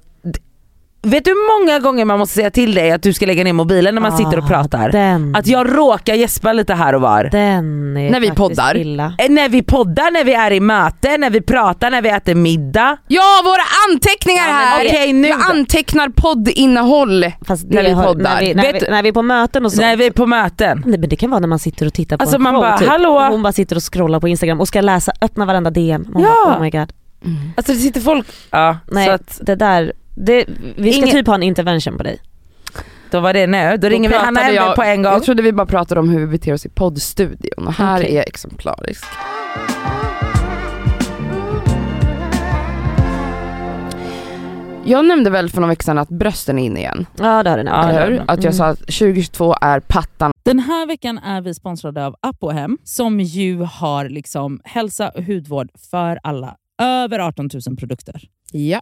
C: Vet du hur många gånger man måste säga till dig att du ska lägga ner mobilen när man sitter och
A: Ah,
C: pratar?
A: Den,
C: Att jag råkar gäspa lite här och var.
A: den är
B: När vi
A: faktiskt
B: poddar.
A: illa.
C: Eh, När vi poddar, när vi är i möte, när vi pratar, när vi äter middag.
B: Ja, våra anteckningar
C: Ja, men
B: här!
C: okej, nu
B: jag
C: då.
B: antecknar poddinnehåll.
A: Fast
B: När
A: det
B: vi
A: har-
B: poddar.
A: När vi, när,
C: Vet
A: vi,
C: du-
A: när vi är på möten och sånt.
C: När vi är på möten.
A: Nej men det kan vara när man sitter och tittar på
C: Alltså,
A: en
C: man
A: show
C: bara,
A: typ.
C: "Hallå?"
A: Och hon bara sitter och scrollar på instagram och ska läsa, öppna varenda DM. Man
C: Ja.
A: bara, oh my god.
B: Mm.
C: Alltså det sitter folk, ja
A: Nej
C: så att
A: det där, det, vi ska
C: Ingen-
A: typ ha en intervention på dig.
C: typ- då var det nu. Då, ringer vi
B: pratade
C: Hanna Hellberg
B: jag-
C: på en gång.
B: Jag trodde vi bara pratade om hur vi beter oss i poddstudion och här
A: Okej.
B: är exemplariskt. Jag nämnde väl för någon vecka sedan att brösten är inne igen,
A: Ja det har du nämnt.
C: Ja, det Mm.
B: eller
C: har
B: hur?
C: du.
B: Att jag sa att 2022 är pattan
D: Den här veckan är vi sponsrade av Apohem som ju har liksom hälsa och hudvård för alla. Över 18 000 produkter.
B: Ja.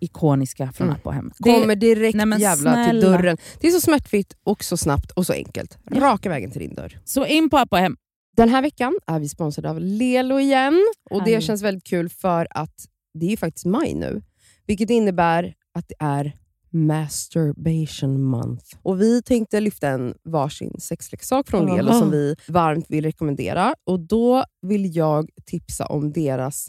C: ikoniska från
B: Mm.
C: app och hem. Det-
B: Kommer direkt
C: Nej, men
B: jävla till
C: snälla.
B: dörren. Det är så smärtfritt och så snabbt och så enkelt.
C: Ja.
B: Raka vägen till din dörr.
C: Så in på app och hem.
B: Den här veckan är vi sponsrade av Lelo igen. Och Det
C: Härligt.
B: känns väldigt kul för att det är ju faktiskt maj nu. Vilket innebär att det är masturbation month. Och Vi tänkte lyfta en varsin sexleksak från
C: Aha.
B: Lelo som vi varmt vill rekommendera. Och Då vill jag tipsa om deras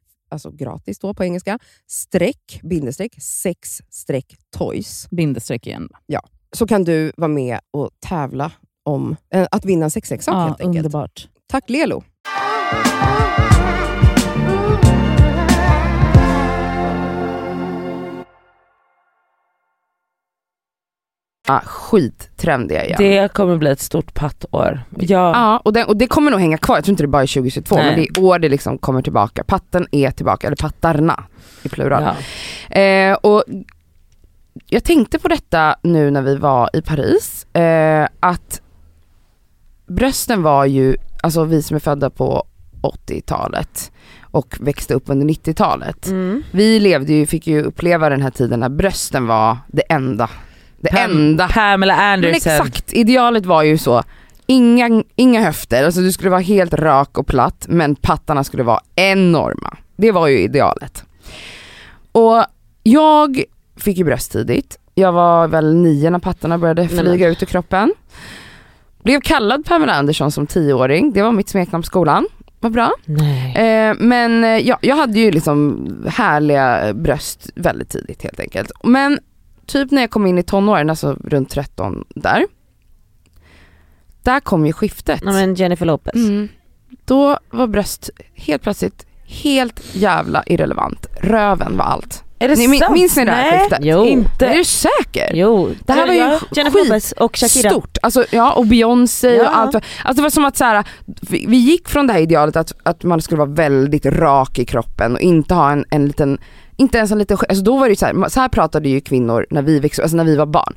B: alltså gratis då på engelska, streck, bindestreck, sex streck toys.
C: Bindestreck igen.
B: Så kan du vara med och tävla om eh, att vinna en sexleksak
C: Ja,
B: helt enkelt.
C: underbart.
B: Tack Lelo!
E: Ah, skittrendiga igen.
F: Det kommer bli ett stort pattår. Jag,
E: Ja, och det, och det kommer nog hänga kvar. Jag tror inte det bara är 2022,
F: Nej.
E: men det är i år det liksom kommer tillbaka. Patten är tillbaka, eller pattarna i plural.
F: ja.
E: Eh, och jag tänkte på detta nu när vi var i Paris, eh, att brösten var ju, alltså vi som är födda på 80-talet och växte upp under 90-talet.
F: Mm.
A: Mm.
E: Vi levde ju, fick ju uppleva den här tiden när brösten var det enda. Det
F: Pam-
E: enda.
F: Pamela
E: Men
F: Anderson.
E: exakt, idealet var ju så, inga, inga höfter, alltså du skulle vara helt rak och platt men pattarna skulle vara enorma. Det var ju idealet. Och jag fick ju bröst tidigt, jag var väl nio när pattarna började
A: men-
E: flyga ut ur kroppen. Blev kallad Pamela Andersson som tioåring, det var mitt smeknamn på skolan. Vad bra.
F: Nej.
E: Eh, men eh, ja, jag hade ju liksom härliga bröst väldigt tidigt helt enkelt. Men typ när jag kom in i tonåren, alltså runt 13 där. Där kom ju skiftet.
A: Nej, men Jennifer Lopez.
E: Mm. Då var bröst helt plötsligt helt jävla irrelevant. Röven var allt.
C: Är det
B: Ni, min,
C: sant?
B: minns ni det här
C: Nej,
B: skiftet?
A: Jo.
C: inte.
B: Är du säker?
A: Jo,
B: Det här var ju
A: Jennifer Lopez och Shakira.
B: Stort. Alltså, ja, och Beyoncé
A: Ja.
B: och allt. Alltså, det var som att så här, vi, vi gick från det här idealet att, att man skulle vara väldigt rak i kroppen och inte ha en, en liten, inte ens en liten, sk- alltså då var det ju så här, så här pratade ju kvinnor när vi växte alltså när vi var barn.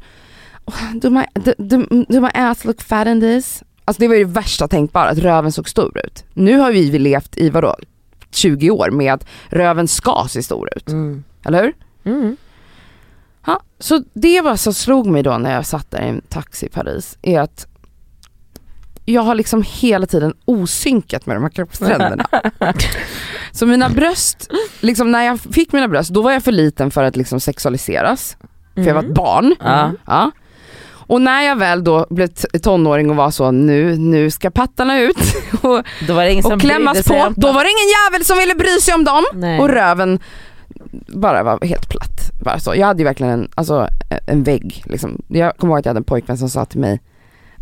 B: Oh, Do my, do, do, do my ass look fat in this? Alltså det var ju det värsta tänkbara, att röven såg stor ut. Nu har vi, vi levt i vadå, 20 år med att röven ska se stor ut,
C: Mm.
B: eller hur?
A: Mm.
B: Ja, så det var som slog mig då när jag satt där i en taxi i Paris är att jag har liksom hela tiden osynkat med de här kroppstrenderna. så mina bröst, liksom när jag fick mina bröst då var jag för liten för att liksom sexualiseras, för jag var
A: Mm.
C: Mm.
B: ett barn.
C: Ja.
B: Ja. Och när jag väl då blev t- tonåring och var så nu, nu ska pattarna ut och,
C: Då var det ingen som
B: och klämmas
C: brydde sig
B: på,
C: om-
B: då var det ingen jävel som ville bry sig om dem.
A: Mm. Nej.
B: Och röven bara var helt platt. Bara så. Jag hade ju verkligen en, alltså, en vägg. Liksom. Jag kommer ihåg att jag hade en pojkvän som sa till mig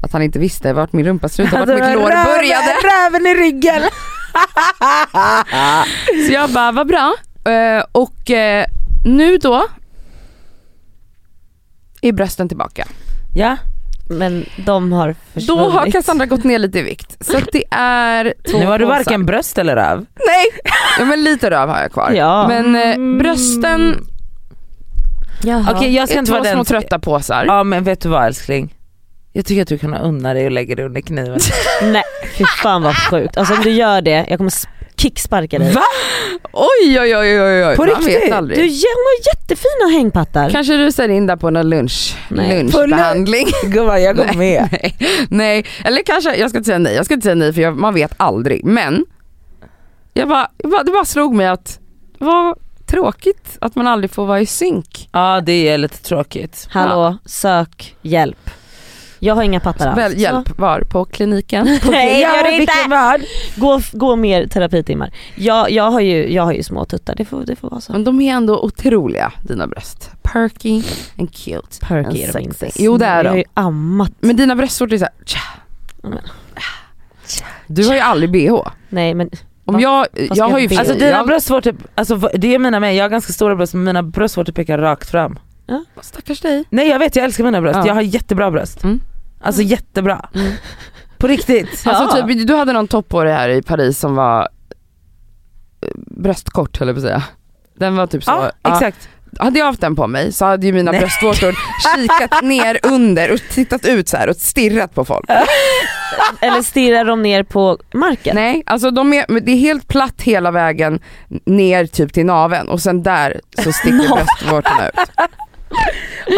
B: att han inte visste vart min rumpa slutade,
C: Alltså,
B: vart mitt lår började.
C: Röven i ryggen!
B: Så jag bara, vad bra. Eh, och eh, nu då är brösten tillbaka.
C: Ja,
A: Men de har
B: Då
A: försvunnit.
B: har Cassandra gått ner lite i vikt. Så att det är två
C: nu har du
B: påsar.
C: varken bröst eller röv.
B: Nej! Ja men lite röv har jag kvar.
A: Ja.
B: Men eh, brösten
A: Jaha.
C: Okej jag ska
B: är
C: inte
B: två
C: vara
B: små
C: den.
B: trötta påsar.
C: Ja men vet du vad älskling? Jag tycker att du kan unna dig och lägga dig under kniven.
A: Nej, fy fan vad sjukt. Alltså om du gör det, jag kommer s- kicksparka dig.
C: Va?
B: Oj oj oj oj oj.
C: På
B: Man
C: riktigt?
B: vet
A: Du,
B: aldrig.
A: hon har jättefina hängpattar.
B: Kanske du rusar in där på någon lunch,
A: Nej.
B: lunchbehandling.
C: Gumman jag går med.
B: nej, nej, eller kanske, jag ska inte säga nej, jag ska inte säga nej för jag, man vet aldrig. Men jag bara, jag bara, det bara slog mig att vad tråkigt att man aldrig får vara i synk.
C: Ja det är lite tråkigt.
A: Hallå, sök hjälp. Jag har inga pattar alls.
B: Väl, hjälp var på kliniken.
A: Nej, det gör det inte.
C: vilken värld.
A: Så, Gå, gå mer terapitimmar. Jag, jag, har ju, jag har ju små tuttar, det får, det får vara så.
B: Men de är ändå otroliga dina bröst. Perky and cute. and
A: Perky är de
B: sexy.
A: inte.
B: Jo det är
A: Jag har
B: de. Mm.
A: ju ammat.
B: Men dina bröstvårtor är såhär, tja.
A: Men-
B: Du har ju aldrig bh.
A: Nej men
B: Om
A: Va?
B: jag,
A: ska
B: jag har
A: jag
B: ju
A: be?
C: Alltså
A: Jag-
C: dina
B: jag-
C: bröstvårtor, alltså, v- det är mina med, jag har ganska stora bröst men mina bröstvårtor pekar rakt fram.
B: Stackars dig.
C: Nej jag vet jag älskar mina bröst,
B: Ja.
C: jag har jättebra bröst.
B: Mm.
C: Alltså jättebra.
B: Mm.
C: På riktigt.
B: Alltså
C: Ja.
B: typ, du hade någon topp på dig här i Paris som var eh, bröstkort höll jag på att säga. Den var typ så,
C: ja,
B: ja.
C: exakt.
B: hade jag haft den på mig så hade ju mina
C: Nej.
B: bröstvårtor kikat ner under och tittat ut så här och stirrat på folk.
A: Eller stirrar de ner på marken?
B: Nej, alltså de är, men det är helt platt hela vägen ner typ till naveln och sen där så sticker bröstvårtorna ut.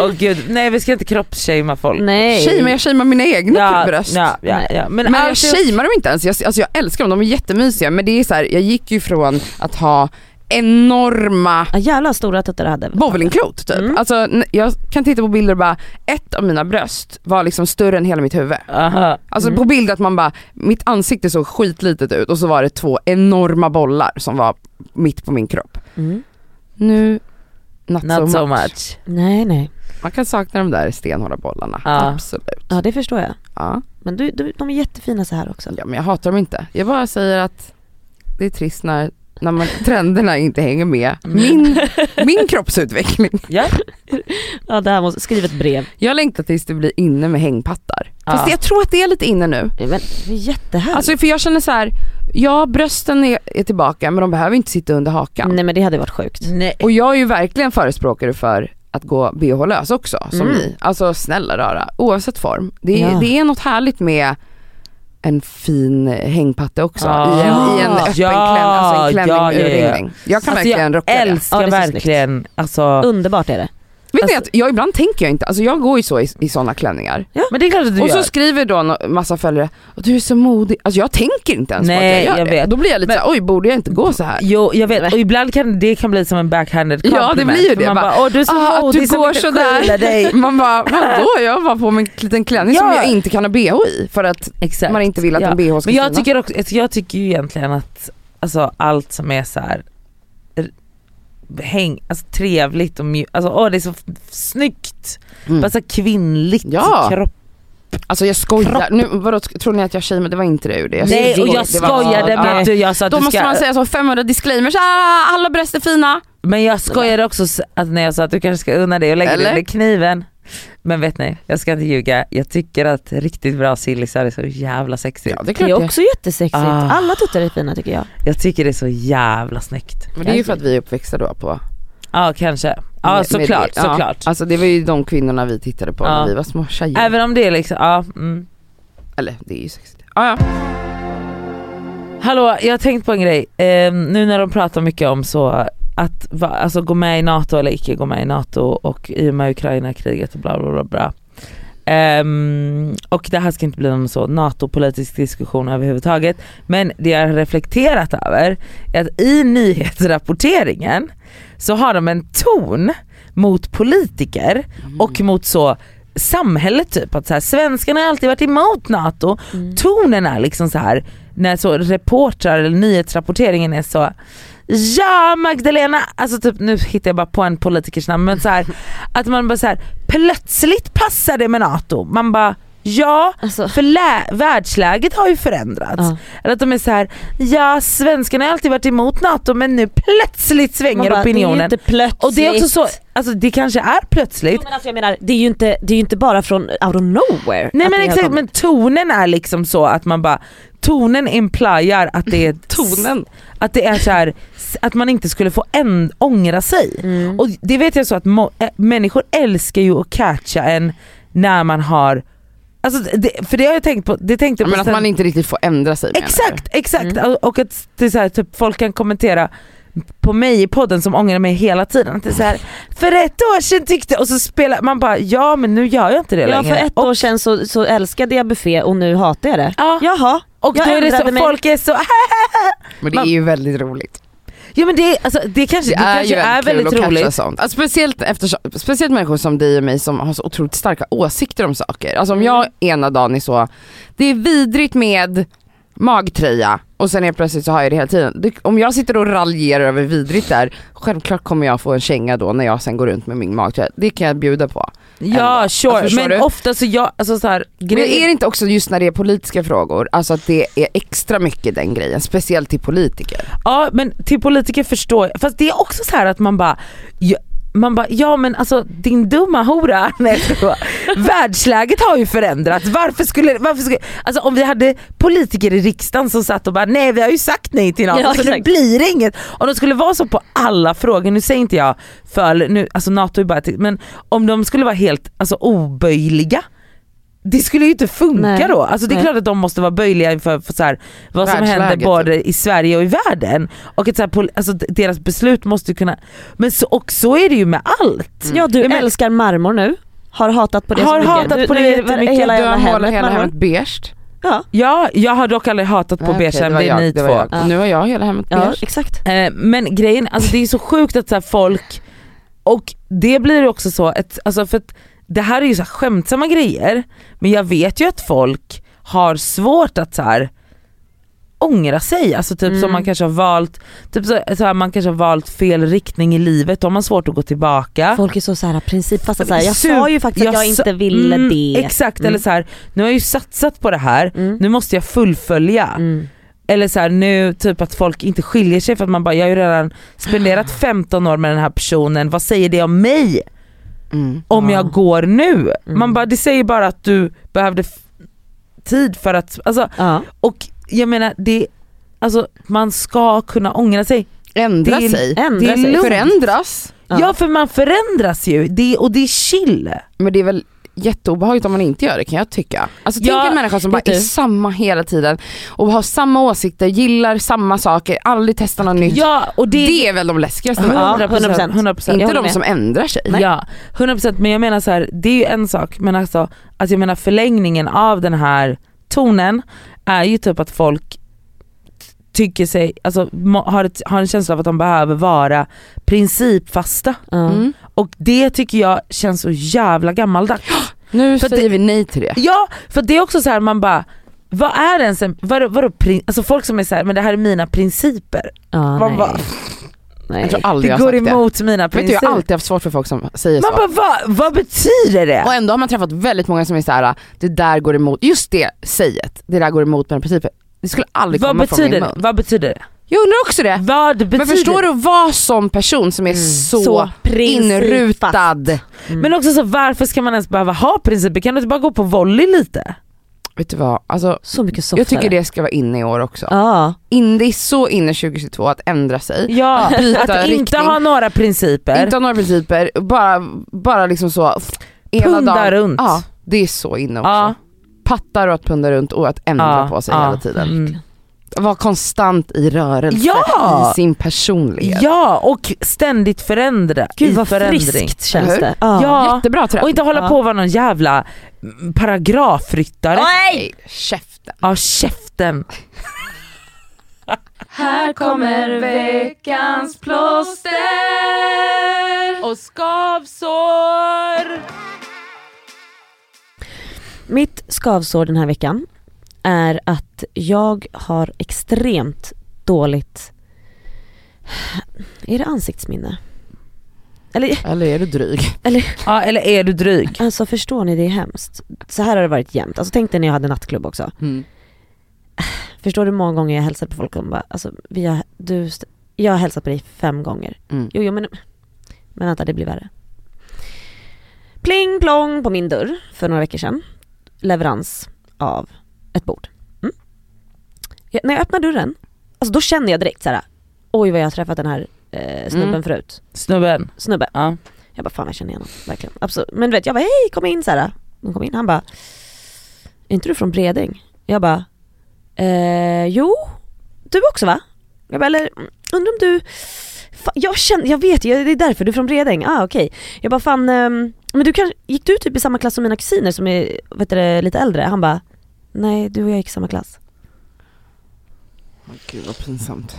C: Åh gud, nej vi ska inte kroppsshamea folk.
A: Nej.
B: Tjej, men jag shamear mina egna bröst.
C: Ja, ja, ja. Men,
B: Men jag
C: allt är-
B: shamear dem inte ens, jag, alltså jag älskar dem, de är jättemysiga men det är så här, jag gick ju från att ha enorma
A: Ja, jävlar vad stora tuttar du hade.
B: bowlingklot typ.
A: Mm.
B: Alltså, n- jag kan titta på bilder och bara, ett av mina bröst var liksom större än hela mitt huvud.
C: Aha.
B: Alltså på bild att man bara, mitt ansikte såg skitlitet ut och så var det två enorma bollar som var mitt på min kropp.
A: Mm.
B: Nu, not,
C: Not
B: so,
C: so
B: much.
C: much.
A: Nej nej,
B: Man kan sakna de där stenhårda bollarna,
C: Ja.
B: absolut.
A: ja det förstår jag.
B: Ja.
A: Men du, du, de är jättefina så här också.
B: ja men jag hatar dem inte. Jag bara säger att det är trist när, när man, trenderna inte hänger med
C: Mm.
B: min, min kroppsutveckling.
C: Ja.
A: Ja det här måste, skriv ett brev.
B: Jag längtar tills det blir inne med hängpattar. Fast
C: Ja.
B: jag tror att det är lite inne nu.
A: Men det är jättehärligt.
B: Alltså för jag känner så här, ja brösten är, är tillbaka men de behöver inte sitta under hakan.
C: Mm.
A: Nej men det hade varit sjukt.
C: Nej.
B: Och jag är ju verkligen förespråkare för att gå bh-lös också som
A: Mm.
B: ni. Alltså snälla rara, oavsett form. Det är,
A: Ja.
B: det är något härligt med en fin hängpatte också
C: Ja.
B: i, en, i en öppen
C: Ah. Ja,
B: klänning, alltså en klänning
C: ja, ja,
B: med
C: ja.
B: urringning. Jag kan
C: Alltså,
B: verkligen
C: jag
B: rocka det.
C: älskar
A: Ja, det är så
C: verkligen, alltså.
A: Underbart är det.
B: Vet ni
A: alltså-
B: att jag ibland tänker jag inte, alltså jag går ju så i, i sådana klänningar.
C: Men det är klart att du
B: och
C: gör.
B: så skriver då en massa följare, "Och du är så modig. Alltså jag tänker inte ens
C: Nej,
B: på att jag gör
C: jag
B: det.
C: vet.
B: Då blir jag lite
C: Men-
B: såhär, oj borde jag inte gå så här?
C: Jo jag vet och ibland kan det kan bli som en backhanded
B: Ja, det
C: compliment.
B: blir ju
C: För
B: det,
C: Man
B: bara,
C: bara, Åh, du är så
B: Ah, att
C: modig
B: du
C: som
B: går
C: inte
B: sådär.
C: skyller dig.
B: Man bara, vadå jag var på mig en liten klänning som
C: Ja.
B: jag inte kan ha bh i för att
C: Exakt.
B: man inte vill att
C: Ja.
B: en bh ska
C: Men jag
B: synas.
C: tycker, också, alltså, jag tycker ju egentligen att alltså, allt som är så här r- häng, alltså, trevligt och mjukt, alltså, åh, det är så f- snyggt.
B: Mm.
C: Bara så här kvinnligt
B: Ja.
C: kropp.
B: Alltså jag skojar, nu, vadå, sk- tror ni att jag shamear? Det var inte det jag gjorde. Jag
C: Nej
B: skojade.
C: och jag
B: Det var-
C: skojade
B: Ja.
C: med att du, jag sa att
B: Då
C: du
B: måste
C: ska...
B: man säga så 500 disclaimers, ah, alla bröst är fina.
C: Men jag skojade också s- att när jag sa att du kanske ska unna dig och lägga dig
B: Eller?
C: under kniven. Men vet ni, jag ska inte ljuga. Jag tycker att riktigt bra sillisar är så jävla sexigt.
B: Ja det är
A: Det
B: klart
A: är
B: det.
A: också jättesexigt.
C: Ah.
A: Alla tuttar är fina tycker jag.
C: Jag tycker det är så jävla snyggt.
B: Men det är ju för att vi är uppväxta då på
C: Ja kanske. Ja
B: med- med
C: såklart,
B: det. Ja,
C: såklart.
B: Alltså det var ju de kvinnorna vi tittade på
C: Ja.
B: när vi var små tjejer.
C: Även om det är liksom, ja. Mm.
B: Eller det är ju sexigt. Ah, ja.
C: Hallå, jag har tänkt på en grej. Eh, nu när de pratar mycket om så att va, alltså, gå med i NATO eller icke gå med i NATO och i och med Ukraina-kriget och bla bla bla. bla. Ehm, och det här ska inte bli någon så NATO-politisk diskussion överhuvudtaget. Men det jag har reflekterat över är att i nyhetsrapporteringen så har de en ton mot politiker och mot så samhället typ. Att så här, svenskarna har alltid varit emot NATO tonen är liksom så här när så reportrar eller nyhetsrapporteringen är så Ja Magdalena, alltså typ nu hittar jag bara på en politikers namn men så här, att man bara så här plötsligt passar det med NATO. Man bara ja,
A: Alltså.
C: för lä- världsläget har ju förändrats.
A: Ja.
C: Eller att de är så här ja svenskarna har alltid varit emot NATO men nu plötsligt
A: Man bara,
C: svänger
A: Det är ju
C: opinionen.
A: inte plötsligt.
C: och det är också så, alltså det kanske är plötsligt
A: Jo, men alltså jag menar, det är ju inte, det är ju inte bara från out of nowhere.
C: Nej
A: att
C: men
A: det har
C: exakt,
A: kommit.
C: men tonen är liksom så att man bara, tonen implyar att det är
B: Tonen.
C: Att det är så här, s- att man inte skulle få en, ångra sig.
A: Mm.
C: Och det vet jag så att må, äh, människor älskar ju att catcha en när man har, alltså det, för det har jag tänkt på, det tänkte
B: Ja,
C: jag på
B: Men att
C: sen-
B: man inte riktigt får ändra sig menar jag.
C: Exakt, exakt! Och- Och att det är så här, typ, folk kan kommentera på mig i podden som ångrar mig hela tiden. Att det är så här, för ett år sedan tyckte... Och så spelar man bara ja men nu gör jag inte det
A: Ja
C: längre.
A: för ett år sedan så, så älskade jag buffé och nu hatar jag det.
C: Ja.
A: Jaha,
C: Och
A: jag
C: då är det så,
A: ändrade mig.
C: folk är så
B: Men det är
C: Man-
B: ju väldigt roligt.
C: Ja men det, är- alltså, det kanske, det kanske är
B: väldigt kul
C: väldigt
B: att catcha
C: roligt.
B: Sånt. Alltså, speciellt, eftersom, speciellt människor som dig och mig som har så otroligt starka åsikter om saker. Alltså om jag ena dagen är så, det är vidrigt med magtröja och sen helt plötsligt så har jag det hela tiden. Det, om jag sitter och raljerar över vidrigt där, självklart kommer jag få en känga då när jag sen går runt med min magtröja. Det kan jag bjuda på.
C: Ja
B: Ändå.
C: sure,
B: Alltså, förstår
C: men
B: du?
C: ofta så jag, alltså så här,
B: Men
C: grejer,
B: är det inte också just när det är politiska frågor, alltså att det är extra mycket den grejen, speciellt till politiker?
C: ja men till politiker förstår jag, fast det är också så här att man bara, ja, man bara, ja men alltså din dumma hora, nej jag skojar. världsläget har ju förändrats, varför skulle, varför skulle, alltså om vi hade politiker i riksdagen som satt och bara nej vi har ju sagt nej till NATO
A: Ja,
C: så nu
A: exakt.
C: blir det inget. Om de skulle vara så på alla frågor, nu säger inte jag för, nu, alltså NATO är bara, ett- men om de skulle vara helt alltså, oböjliga det skulle ju inte funka
A: Nej.
C: då. Alltså det är
A: Nej.
C: klart att de måste vara böjliga inför för så här, vad som
B: Världsläget,
C: händer
B: typ.
C: både i Sverige och i världen. Och att så här, pol- alltså, d- deras beslut måste ju kunna... Men så, och så är det ju med allt.
A: Mm. Ja du
C: Jag men-
A: älskar marmor nu. Har hatat på det
C: Har
A: så mycket.
C: hatat
A: Nu-
C: på det
A: nu är
C: jättemycket.
A: Hela
B: Du
A: jävla
B: har målat
A: hemmet,
B: hela
A: marmor.
B: hemmet beige.
A: Ja,
C: Ja, jag har dock aldrig hatat på
B: Nej, okej,
C: beige än,
B: var
C: det är
B: jag,
C: ni
B: var
C: två.
B: jag. Och Nu har jag hela Mm. hemmet
A: ja
B: beige.
A: exakt.
C: Eh, men grejen, alltså det är så sjukt att så här, folk, och det blir ju också så, ett, alltså för att det här är ju så här, skämtsamma grejer, men jag vet ju att folk har svårt att så här ångra sig, alltså typ
B: Mm.
C: som man kanske har valt, typ så, så här, man kanske har valt fel riktning i livet, då har man svårt att gå tillbaka.
A: Folk är så, så här principfasta, så här, jag
C: Super-
A: sa ju faktiskt att jag,
C: sa-
A: inte ville
C: Mm,
A: det.
C: Exakt,
A: Mm.
C: eller så här, nu har jag ju satsat på det här,
A: Mm.
C: nu måste jag fullfölja.
A: Mm.
C: Eller så här, nu typ att folk inte skiljer sig för att man bara, jag har ju redan spenderat 15 år med den här personen, vad säger det om mig
B: Mm.
C: om
A: Ja.
C: jag går nu?
A: Mm.
C: Man bara, det säger bara att du behövde f- tid för att, alltså,
A: Ja.
C: och jag menar det, alltså man ska kunna ångra sig.
B: Ändra
C: Det är-
B: sig.
A: Ändra
C: Det är
A: sig.
C: lugnt.
B: förändras.
A: Ja.
C: Ja, för man förändras ju det, och det är chill.
B: Men det är väl jätteobehagligt om man inte gör det kan jag tycka. Alltså
C: Ja,
B: tänk en människa som bara
A: vet
B: är
A: du?
B: samma hela tiden och har samma åsikter, gillar samma saker, aldrig testar något nytt.
C: Ja och det,
B: Det är väl de läskigaste
A: Ja,
B: människorna.
A: 100%.
C: 100%.
A: jag
B: Inte
A: håller
B: de
A: med.
B: som ändrar sig.
C: Ja, 100% men jag menar så här, det är ju en sak men alltså att jag menar förlängningen av den här tonen är ju typ att folk tycker sig, alltså må- har, ett, har en känsla av att de behöver vara principfasta
A: Ja.
B: Mm.
C: och det tycker jag känns så jävla gammaldags.
B: Nu
C: För
B: säger vi nej till det.
C: Ja, för det är också så här man bara vad är ens en, vadå, vadå, prin- alltså folk som är så här, men det här är mina principer.
A: Ja,
C: Man
A: nej.
C: bara,
B: Jag
A: nej.
B: tror aldrig
C: det
B: jag har
C: går
B: sagt
C: emot mina
B: det. Vet du,
C: principer.
B: jag har alltid haft svårt för folk som säger
C: man
B: så.
C: bara vad, vad betyder det?
B: Och ändå har man träffat väldigt många som är såhär, det där går emot, just det säget, det där går emot mina principer. Det skulle aldrig
C: Vad
B: komma från min
C: betyder, det?
B: mun.
C: vad betyder det?
B: Jag undrar också det.
C: Vad betyder Mm.
B: Men förstår du att vara sån person som är så,
A: Mm. Så principfast.
B: inrutad?
C: Men också så varför ska man ens behöva ha principer? Kan du inte bara gå på volley lite?
B: Vet du vad, alltså,
A: Så mycket softare.
B: jag tycker det ska vara inne i år också.
A: Ja.
B: In, det är så inne 2022 att ändra sig.
C: Ja,
B: Byta
C: att inte
B: riktning.
C: ha några principer.
B: Inte ha några principer, bara, bara liksom så ena
C: Punda
B: dagen.
C: runt.
B: Ja, det är så inne också.
C: Ja,
B: Pattar och att punda runt och att ändra
C: ja,
B: på sig
C: ja.
B: hela tiden.
C: Mm.
B: Vara konstant i rörelse
C: Ja!
B: i sin personlighet.
C: Ja, och ständigt förändra. i
A: Gud vad
C: förändring.
A: friskt känns
B: Eller hur?
A: det. Ja.
C: Ja,
B: Jättebra trend.
C: och inte hålla
A: Ja.
C: på och vara någon jävla mm, paragrafryttare.
B: Nej! Käften.
C: Ja, käften.
G: Här kommer veckans plåster.
C: Och skavsår!
A: Mitt skavsår den här veckan är att jag har extremt dåligt, är det ansiktsminne? Eller,
B: Eller är du dryg?
C: Ja, eller är du dryg?
A: alltså förstår ni, det är hemskt. Så här har det varit jämt. Alltså tänk dig när jag hade nattklubb också.
B: Mm.
A: Förstår du hur många gånger jag hälsade på folk och de bara, alltså vi har, du, st- jag har hälsat på dig fem gånger.
B: Mm.
A: Jo, jo men, men vänta det blir värre. Pling plong på min dörr för några veckor sedan. Leverans av ett bord. Mm. Jag, när jag öppnar dörren, alltså då känner jag direkt så här. oj vad jag har träffat den här eh, snubben
B: Mm.
A: förut.
C: Snubben.
A: Snubbe.
C: Ja.
A: Jag bara fan jag känner igen honom, verkligen. Absolut. Men du vet jag bara hej kom in Sara. Hon kom in, han bara Är inte du från Bredäng? Jag bara eh, Jo, du också va? Jag bara eller mm, undrar om du fan, jag, känner, jag vet ju, det är därför du är från Bredäng, ah okej. Jag bara fan, ehm, men du kan, gick du typ i samma klass som mina kusiner som är vet du, det, lite äldre? Han bara Nej du och jag gick i samma klass.
B: Gud vad pinsamt.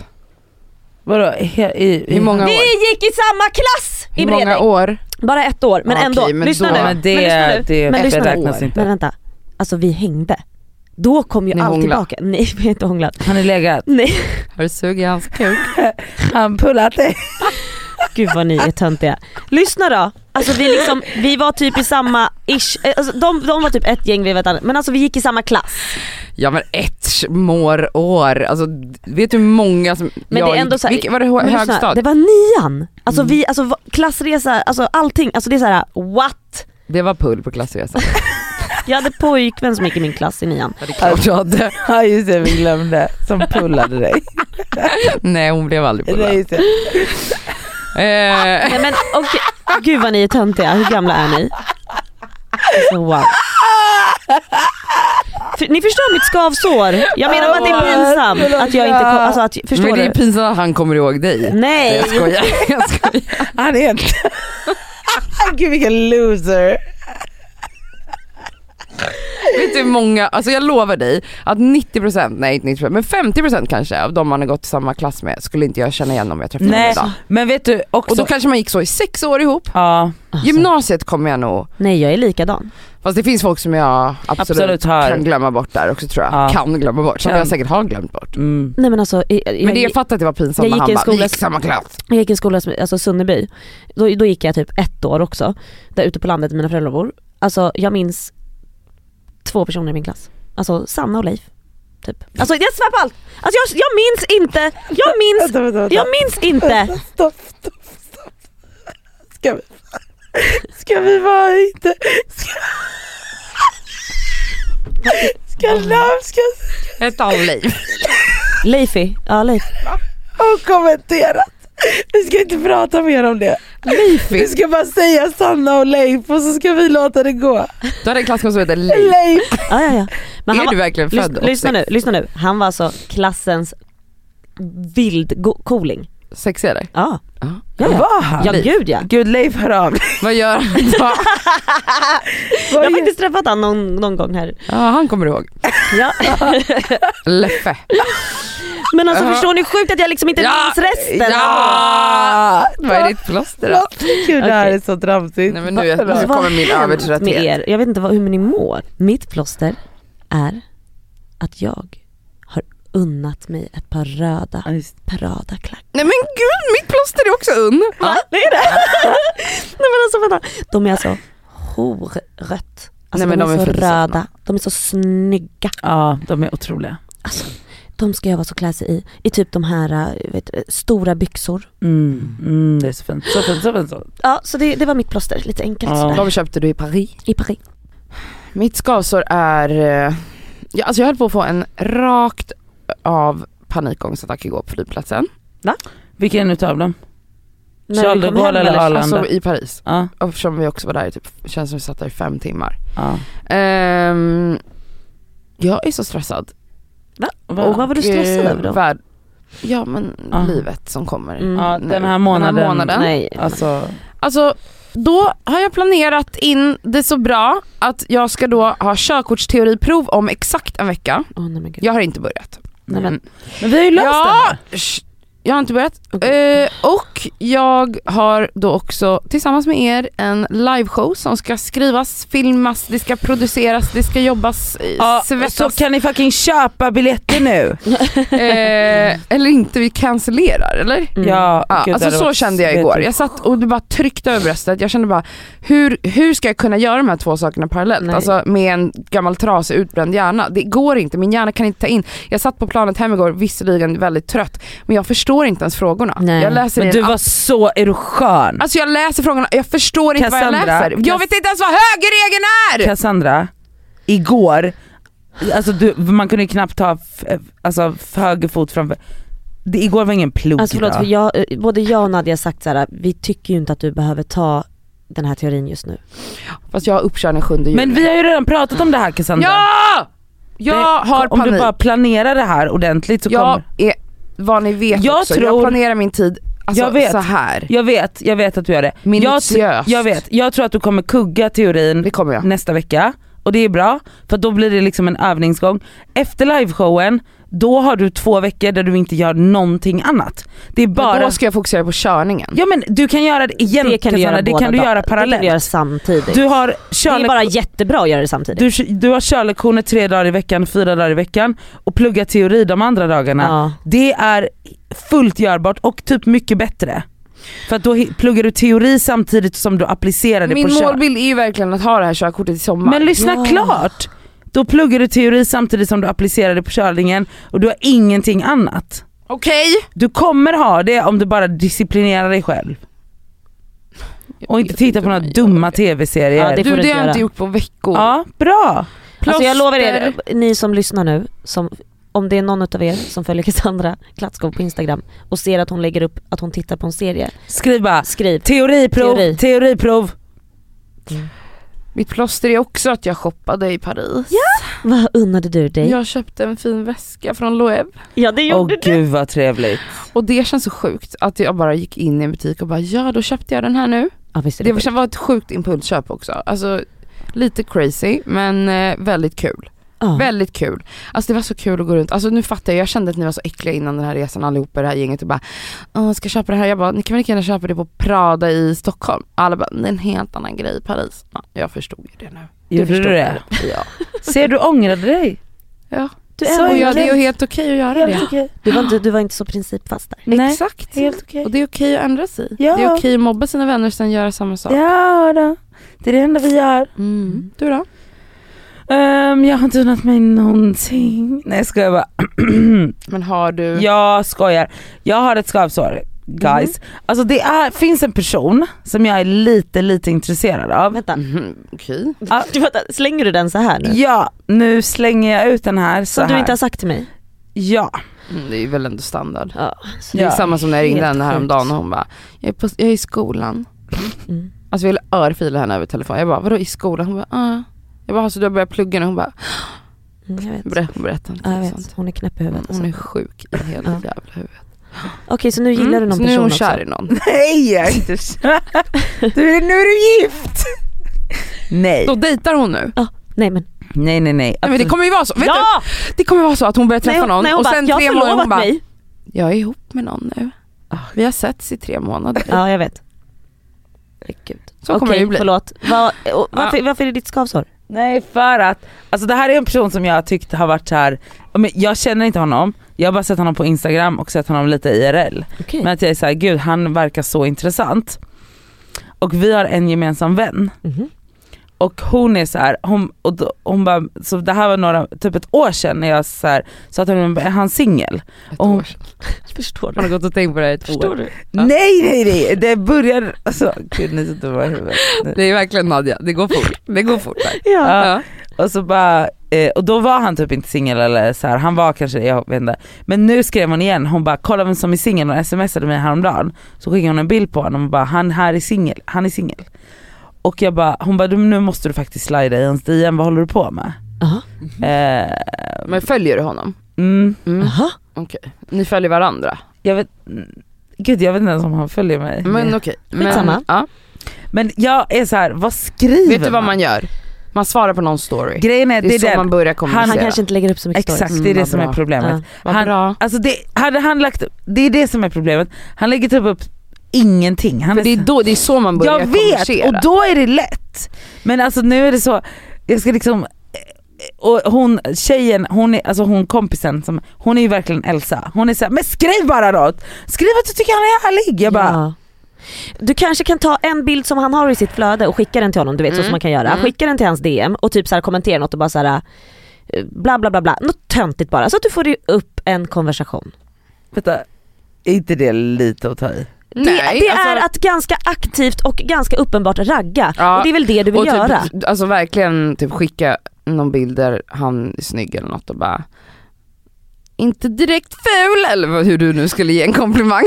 C: Vadå? He- i, i,
B: Hur många
A: Vi
B: år?
A: gick i samma klass i
B: Hur många
A: Bredäng!
B: år?
A: Bara ett år, men
B: Ja, okej,
A: ändå.
B: men
A: lyssna
B: då-
A: nu.
B: Ja,
C: men det,
A: lyssna nu.
C: det,
A: Men lyssna
C: det
A: nu.
C: räknas inte.
A: Men vänta, alltså vi hängde. Då kom ju
B: Ni
A: allt
B: hånglade.
A: tillbaka. Nej vi har inte hånglat.
C: Han är legat.
A: Nej.
B: Har du sugit i hans kuk?
C: Han pullat dig.
A: Gud vad ni är töntiga. Lyssna då. Alltså vi, liksom, vi var typ i samma ish, eh, alltså, de, de var typ ett gäng, vi var ett annat. Men alltså vi gick i samma klass.
B: Ja men ett mår år, alltså vet du hur många som...
A: Men
B: jag
A: det är ändå
B: gick-
A: så här-
B: vilket- var det
A: Men
B: hö-
A: lyssna,
B: högstad?
A: Det var nian. Alltså
B: Mm.
A: vi, alltså va- klassresa, alltså allting. Alltså det är så här: what?
B: Det var pull på klassresan.
A: Jag hade pojkvän som gick i min klass i nian.
B: Ja, det är klart du hade.
C: Ja just det, vi glömde. Som pullade dig.
B: Nej hon blev aldrig pullad.
C: Nej, just det.
B: Eh,
A: Nej men okej, gud vad ni är töntiga, hur gamla är ni? Alltså, wow. För, ni förstår mitt skavsår, jag menar bara att det är pinsamt att jag inte kom, alltså att,
B: men
A: förstår
B: det är
A: du?
B: pinsamt att han kommer ihåg dig.
A: Nej!
B: Jag skojar, jag skojar.
C: Han är inte... Gud vilken loser.
B: Vet du hur många, alltså jag lovar dig att 90%, nej inte 90% men 50% kanske av de man har gått i samma klass med skulle inte jag känna igen om jag träffade dem
C: Nej
B: idag.
C: men vet du också...
B: Och då kanske man gick så Alltså. i sex år ihop.
C: Ja
B: Gymnasiet kommer jag nog
A: Alltså, Nej jag är likadan.
B: Fast det finns folk som jag absolut,
C: Absolut har.
B: kan glömma bort där också tror jag.
C: Ja.
B: Kan glömma bort, som
C: Kan.
B: jag säkert har glömt bort.
C: mm.
A: Nej men alltså, jag, jag,
B: Men det,
A: jag,
B: jag fattar att det var pinsamt
A: jag
B: när
A: gick
B: han
A: i en
B: bara, vi
A: skola
B: gick i
A: som-
B: samma klass.
A: gick i en skola, som, alltså Sunneby, då, då gick jag typ ett år också, där ute på landet där mina föräldrar bor. Alltså jag minns två personer i min klass. Alltså Sanna och Leif. Typ. Alltså jag svär på allt! Alltså jag, jag minns inte, jag minns,
C: Vänta, vänta, vänta.
A: jag minns inte!
C: Stopp, stopp, stopp. Ska vi... Ska vi vara inte... Ska... Ska Love ska
B: Ett av liv.
A: Leifi, ja Leif.
C: och kommenterat. Vi ska inte prata mer om det. Vi ska bara säga Sanna och Leif och så ska vi låta det gå.
B: Du hade en klasskompis som hette Leif.
C: Leif!
A: Ja, ja, ja. Men
B: Är
A: han
B: du
A: var,
B: verkligen
A: lys,
B: född
A: lyssna
B: 86?
A: nu, lyssna nu. Han var alltså klassens vildkoling.
B: Sex är det.
A: Ja.
B: Ja.
A: Ja, ja.
C: Var han?
A: ja gud ja.
C: Gud Leif hör av
B: Vad gör han då?
A: Jag har faktiskt träffat honom någon, någon gång här.
B: Ja han kommer ihåg.
A: Ja.
B: Leffe.
A: Men alltså
B: Ja.
A: förstår ni hur sjukt att jag liksom inte
B: Ja,
A: minns resten?
B: Ja! Vad är ditt plåster då?
C: Gud det här
A: Okej.
C: är så tramsigt.
B: Nej men nu, är- nu
A: Alltså, vad
B: kommer min
A: har hänt med
B: övertrötthet.
A: er? Jag vet inte vad, hur ni mår. Mitt plåster är att jag har unnat mig ett par röda
C: Ja, just-
A: Prada-klackar.
B: Nej men gud mitt plåster är också unn.
A: Va? Det är det? Nej men alltså vänta. De är alltså horrött. Alltså
B: Nej, men
A: de,
B: de
A: är,
B: är
A: så
C: alltså.
B: fint sötna.
A: röda, de är så snygga.
C: Ja, de är otroliga.
A: Alltså, de ska jag vara så klä sig i. I typ de här eh, vet, du, stora byxor.
C: Mm, mm, det är så fint. Så fint, så fint. Så. fint.
A: Ja, så det, det var mitt plåster. Lite enkelt
C: Ja.
A: sådär.
B: De köpte du i Paris.
A: I Paris.
B: Mitt skavsår är, eh, ja, alltså jag höll på att få en rakt av panikångestattack igår på flygplatsen.
C: Vilken utav dem?
A: När vi
C: Charles de
A: kom hem,
C: Gaulle eller
A: eller?
C: Arlanda?
B: Alltså i Paris,
C: Ja,
B: Och eftersom vi också var där i typ, känns som vi satt där i fem timmar.
C: ja.
B: Ehm, jag är så stressad.
A: Och vad var du stressad
B: Eh,
A: över då?
B: värld- Ja men
C: Ja.
B: livet som kommer.
A: Mm.
C: Ja,
B: nu.
C: den här månaden.
B: Den här månaden.
A: Nej.
C: Alltså,
B: Alltså då har jag planerat in det så bra att jag ska då ha körkortsteoriprov om exakt en vecka.
A: Åh, nej men gud.
B: Jag har inte börjat.
A: Nej, men,
C: men vi har ju löst det här.
B: Ja, sh- jag har inte börjat. Eh, och jag har då också tillsammans med er en liveshow som ska skrivas, filmas, det ska produceras, det ska jobbas, eh,
C: Ja, så
B: svettas.
C: kan ni fucking köpa biljetter nu.
B: Eh, eller inte, vi cancellerar eller?
A: Mm.
C: Ja,
B: Ja,
C: gud, det
B: alltså
C: hade
B: så
C: varit
B: kände jag igår. Jag satt och det bara tryckte över bröstet. Jag kände bara, hur, hur ska jag kunna göra de här två sakerna parallellt?
A: Nej.
B: Alltså med en gammal trasig utbränd hjärna. Det går inte, min hjärna kan inte ta in. Jag satt på planet hem igår, visserligen väldigt trött, men jag förstår inte ens frågorna.
A: Nej.
B: Jag läser i
C: Men
B: en
C: du
B: app.
C: var så, är du skön?
B: Alltså jag läser frågorna, jag förstår inte vad jag
C: Cassandra,
B: läser. Jag
C: Cass-
B: vet inte ens vad högerregeln är!
C: Cassandra, igår, alltså du, man kunde ju knappt ta f- alltså, f- höger fot framför. Det, igår var ingen plog
A: Alltså förlåt,
C: idag.
A: för jag, eh, både jag och Nadja har sagt så här: vi tycker ju inte att du behöver ta den här teorin just nu.
B: Fast jag har uppkörning 7 juni.
C: Men vi har ju redan pratat om det här Cassandra.
B: ja!
C: Det-
B: Jag har
C: Om du
B: panik.
C: bara planerar det här ordentligt så
B: Jag
C: kommer
B: är, vad ni vet
C: Jag
B: också, jag
C: tror-
B: planerar min tid alltså,
C: Jag vet.
B: så här.
C: Jag vet, jag vet att du gör det. Jag, tr-
B: Minutiöst.
C: jag vet, jag tror att du kommer kugga teorin
B: Det kommer jag.
C: nästa vecka och det är bra för då blir det liksom en övningsgång. Efter liveshowen, då har du två veckor där du inte gör någonting annat. Det är bara...
B: Men då ska jag fokusera på körningen.
C: Ja men du kan göra det igen
A: det kan du göra,
C: Cassandra, det
A: båda
C: kan du
A: dag-
C: göra
A: Det kan du göra
C: parallellt.
A: samtidigt.
C: Du har
A: det är
C: körlek-
A: bara jättebra att göra det samtidigt.
C: du, du har körlektioner tre dagar i veckan, fyra dagar i veckan och pluggar teori de andra dagarna.
A: ja.
C: Det är fullt görbart och typ mycket bättre. För att då hi- pluggar du teori samtidigt som du applicerar det
B: Min
C: på kör.
B: målbild är ju verkligen att ha det här körkortet i sommar.
C: Men lyssna
A: Ja.
C: klart! Då pluggar du teori samtidigt som du applicerar det på körningen och du har ingenting annat.
B: Okej?
C: Du kommer ha det om du bara disciplinerar dig själv och inte tittar på några dumma tv-serier.
A: Ja,
C: Ja,
A: det får
B: Du
A: du inte
B: det har jag
A: göra.
B: inte gjort på veckor.
C: bra!
A: Alltså jag lovar er,
B: Plåster.
A: ni som lyssnar nu, som, om det är någon utav er som följer Cassandra Klatskov på Instagram och ser att hon lägger upp att hon tittar på en serie,
C: Skriv bara
A: skriv.
C: teoriprov,
A: Teori.
C: teoriprov.
B: Mitt plåster är också att jag shoppade i Paris.
A: Vad unnade du dig? Ja,
B: Jag köpte en fin väska från Loeb
A: det
C: Åh
A: gjorde du.
C: gud vad trevligt.
B: och det känns så sjukt att jag bara gick in i en butik och bara ja då köpte jag den här nu.
A: Ja, visst är
B: Det
A: det
B: var- det var ett sjukt impulsköp också. Alltså lite crazy men eh, väldigt kul.
A: ja.
B: Väldigt kul. Alltså det var så kul att gå runt. Alltså nu fattar jag, jag kände att ni var så äckliga innan den här resan allihopa i det här gänget och bara "Åh, ska jag köpa det här? Jag bara, ni kan väl lika gärna köpa det på Prada i Stockholm? Alla bara, det är en helt annan grej i Paris. Ja, jag förstod ju det nu.
C: Gjorde du
B: förstod
C: det?
B: jag. Ja.
C: Ser du ångrade dig?
B: ja.
A: Du,
C: Så
A: ändrar
B: Och jag,
A: dig.
B: det är ju helt okej att göra det.
A: du, var inte, du var inte så principfast där.
C: Nej,
B: Exakt.
C: helt okej.
B: Och det är okej att ändra sig.
C: Ja.
B: Det är okej att mobba sina vänner och sen göra samma sak.
C: Ja då. det är det enda vi gör.
B: Mm. Du då?
C: Ehm, jag har inte unnat mig någonting. Nej jag skojar bara.
B: Men har du...
C: Jag skojar. Jag har ett skavsår guys. Alltså det är, finns en person som jag är lite lite intresserad av.
A: Vänta,
B: Mhm, Okej.
C: Ja.
A: du, vänta slänger du den så här nu?
C: Ja, nu slänger jag ut den här så
A: Som du
C: här.
A: inte har sagt till mig?
C: Ja.
B: Mm, det är ju väl ändå standard.
A: Ja.
B: Det är
C: Ja,
B: samma som när jag ringde
C: helt
B: henne häromdagen och hon bara, jag är, på, jag är i skolan.
A: Mm.
B: Alltså jag ville örfila henne över telefon. Jag bara, vadå i skolan? Hon bara, ja. Jag bara, så du har börjat plugga nu? Hon bara,
A: Mm, Jag vet.
B: berätta, berätta inte
A: Ja, jag
B: sånt.
A: vet. Hon är knäpp i huvudet.
B: Hon
A: Alltså.
B: är sjuk i hela
A: Ja.
B: jävla huvudet.
A: Okej så nu gillar du någon
B: Mm. så nu är
A: person
B: hon
A: också?
B: kär i någon.
C: Nej jag är inte kär. Du, nu är du gift. Nej.
B: Då dejtar hon nu.
A: Nej men,
C: Nej Alltså- nej nej.
B: Nej, men det kommer ju vara så. Vet
A: Alltså- ja!
B: du, det kommer vara så att hon börjar träffa
A: Nej, hon-
B: någon
A: nej, hon
B: och
A: bara,
B: sen
A: "Jag har
B: tre månader hon
A: förlovat
B: bara,
A: mig." Ah.
B: jag är ihop med någon nu. Vi har setts i tre månader.
A: Ja jag vet. Gud.
B: Så kommer det ju bli.
A: förlåt. Var, och, varför, varför är det ditt skavsår?
C: Nej för att, alltså det här är en person som jag har tyckt har varit så här. men jag känner inte honom, jag har bara sett honom på instagram och sett honom lite IRL.
A: Okej.
C: Men att jag är såhär, gud han verkar så intressant. Och vi har en gemensam vän.
A: Mhm.
C: Och hon är så här, hon, och då, hon bara, så det här var några, typ ett år sedan när jag så här, sa att hon, är han singel?
B: Ett
C: Och-
B: år sedan.
A: Förstår
B: Hon
A: du?
B: har gått och tänkt på det här i ett år.
A: Förstår du?
B: Ja.
C: Nej nej nej, det började, alltså gud ni är så dumma i huvudet.
B: Det är verkligen Nadja, det går fort. Det går fort där.
A: Ja.
B: Ja.
C: Och så bara, eh, och då var han typ inte singel eller så här, han var kanske det, jag vet inte. Men nu skrev hon igen, hon bara kolla vem som är singel och smsade mig häromdagen. Så skickade hon en bild på honom och bara han här är singel, han är singel. Och jag bara, hon bara du, nu måste du faktiskt slida i hans DM, vad håller du på med?
A: Aha.
C: Eh,
B: Men följer du honom?
C: mm,
B: Mm.
A: Aha.
B: Okej. Ni följer varandra?
C: jag vet, mm, gud jag vet inte ens om han följer mig.
B: Men okej. Men,
A: Mm. Skitsamma.
B: ja.
C: Men jag är så här, vad skriver
B: Vet du vad man gör? Man svarar på någon story.
C: Grejen är,
B: Det är,
C: det
B: så
C: är den,
B: man börjar
A: Han,
B: kommunicera.
A: kanske inte lägger upp så mycket
C: exakt
A: stories.
C: det är
B: Mm,
C: det
B: vad
C: som är
B: bra.
C: problemet.
A: Ja.
B: Vad
C: han-
B: bra.
C: Alltså det, hade han lagt upp, det är det som är problemet. Han lägger typ upp ingenting. Han
B: För det är då, det är så man börjar
C: jag vet
B: kommunicera.
C: och då är det lätt. Men alltså nu är det så, jag ska liksom och hon tjejen, hon är, alltså hon kompisen, som, hon är ju verkligen Elsa. Hon är såhär, men skriv bara något! Skriv att du tycker han är härlig! Jag bara,
A: Ja. Du kanske kan ta en bild som han har i sitt flöde och skicka den till honom, du vet så som man kan göra. Skicka den till hans DM och typ så här kommentera något och bara så här eh, bla bla bla bla, något töntigt bara. Så att du får ju upp en konversation.
C: vänta, är inte det lite att ta i?
A: det det
B: alltså-
A: är att ganska aktivt och ganska uppenbart ragga.
B: Ja,
A: Och det är väl det du vill
B: och
A: göra.
B: Typ, alltså verkligen typ skicka någon bild där han är snygg eller något och bara inte direkt ful eller vad- hur du nu skulle ge en komplimang.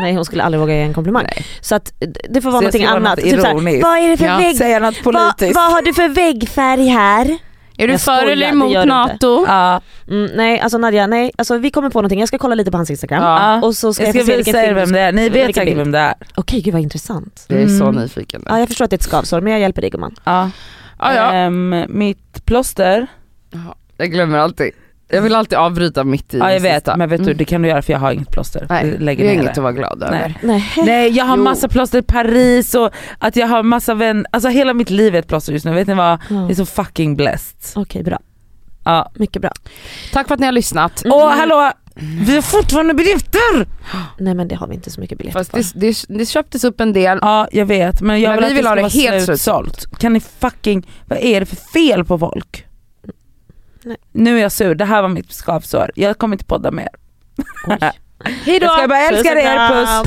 A: Nej hon skulle aldrig våga ge en komplimang.
B: Nej.
A: Så att eh, det får vara
C: Så
A: någonting
C: jag ska vara
A: annat.
C: något
A: Typ så här,
C: ironiskt.
A: vad är det för
B: Ja.
A: vägg?
C: Säga
A: Va,
C: något politiskt.
A: vad har du för väggfärg här?
B: Är du
A: Jag
B: för
A: skojar,
B: eller
A: det
B: emot
A: gör du inte.
B: NATO?
C: Ja,
A: Mm, nej alltså Nadja, nej alltså, vi kommer på någonting. Jag ska kolla lite på hans instagram.
B: Ja.
A: Och så ska
C: jag
A: jag,
C: ska
A: få se vilken
C: visa er
A: film du
C: vem
A: ska-
C: det är, ni vet
A: vilken
C: säkert
A: bild.
C: vem det är.
A: Okej gud vad intressant.
B: Jag är så
C: Mm.
B: nyfiken nu.
A: Ja jag förstår att det är ett skavsår men jag hjälper dig gumman.
C: Ja.
B: Ah, ja.
C: Ehm, mitt plåster,
A: eh.
B: Jag glömmer alltid. Jag vill alltid avbryta mitt i
C: ja jag
B: det
C: vet
B: sista.
C: men vet du
B: Mm.
C: det kan du göra för jag har inget plåster.
B: Nej,
C: Jag lägger
B: det är
C: ner
B: inget att vara glad över.
C: Nej.
A: Nej.
C: Nej jag har
B: Jo.
C: massa plåster i Paris och att jag har massa vänner, alltså hela mitt liv är ett plåster just nu. Vet ni vad?
A: Ja.
C: Jag är så fucking blessed.
A: Okej bra,
C: Ja.
A: mycket bra.
B: Tack för att ni har lyssnat.
C: Och hallå!
B: Mm.
C: Vi har fortfarande biljetter!
A: Nej men det har vi inte så mycket biljetter
B: Fast
A: för.
B: det, det, det köptes upp en del.
C: Ja jag vet men jag
B: Men vi
C: att
B: vill
C: det
B: ha
C: ska
B: det
C: vara
B: helt
C: slutsålt. Kan ni fucking, vad är det för fel på folk?
A: Nej.
C: Nu är jag sur, det här var mitt skavsår. Jag kommer inte podda mer.
A: Hejdå!
C: Jag ska bara älska
A: Puss och
C: er, puss.
A: kram.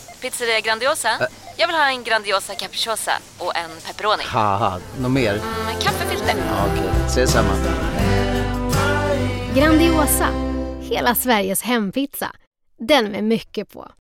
H: Pizzeria Grandiosa? Jag vill ha en Grandiosa capriciosa och en pepperoni.
I: haha, något mer?
H: Med kaffefilter.
I: Ja, Okej, ses samma.
J: Grandiosa, hela Sveriges hempizza. Den med mycket på.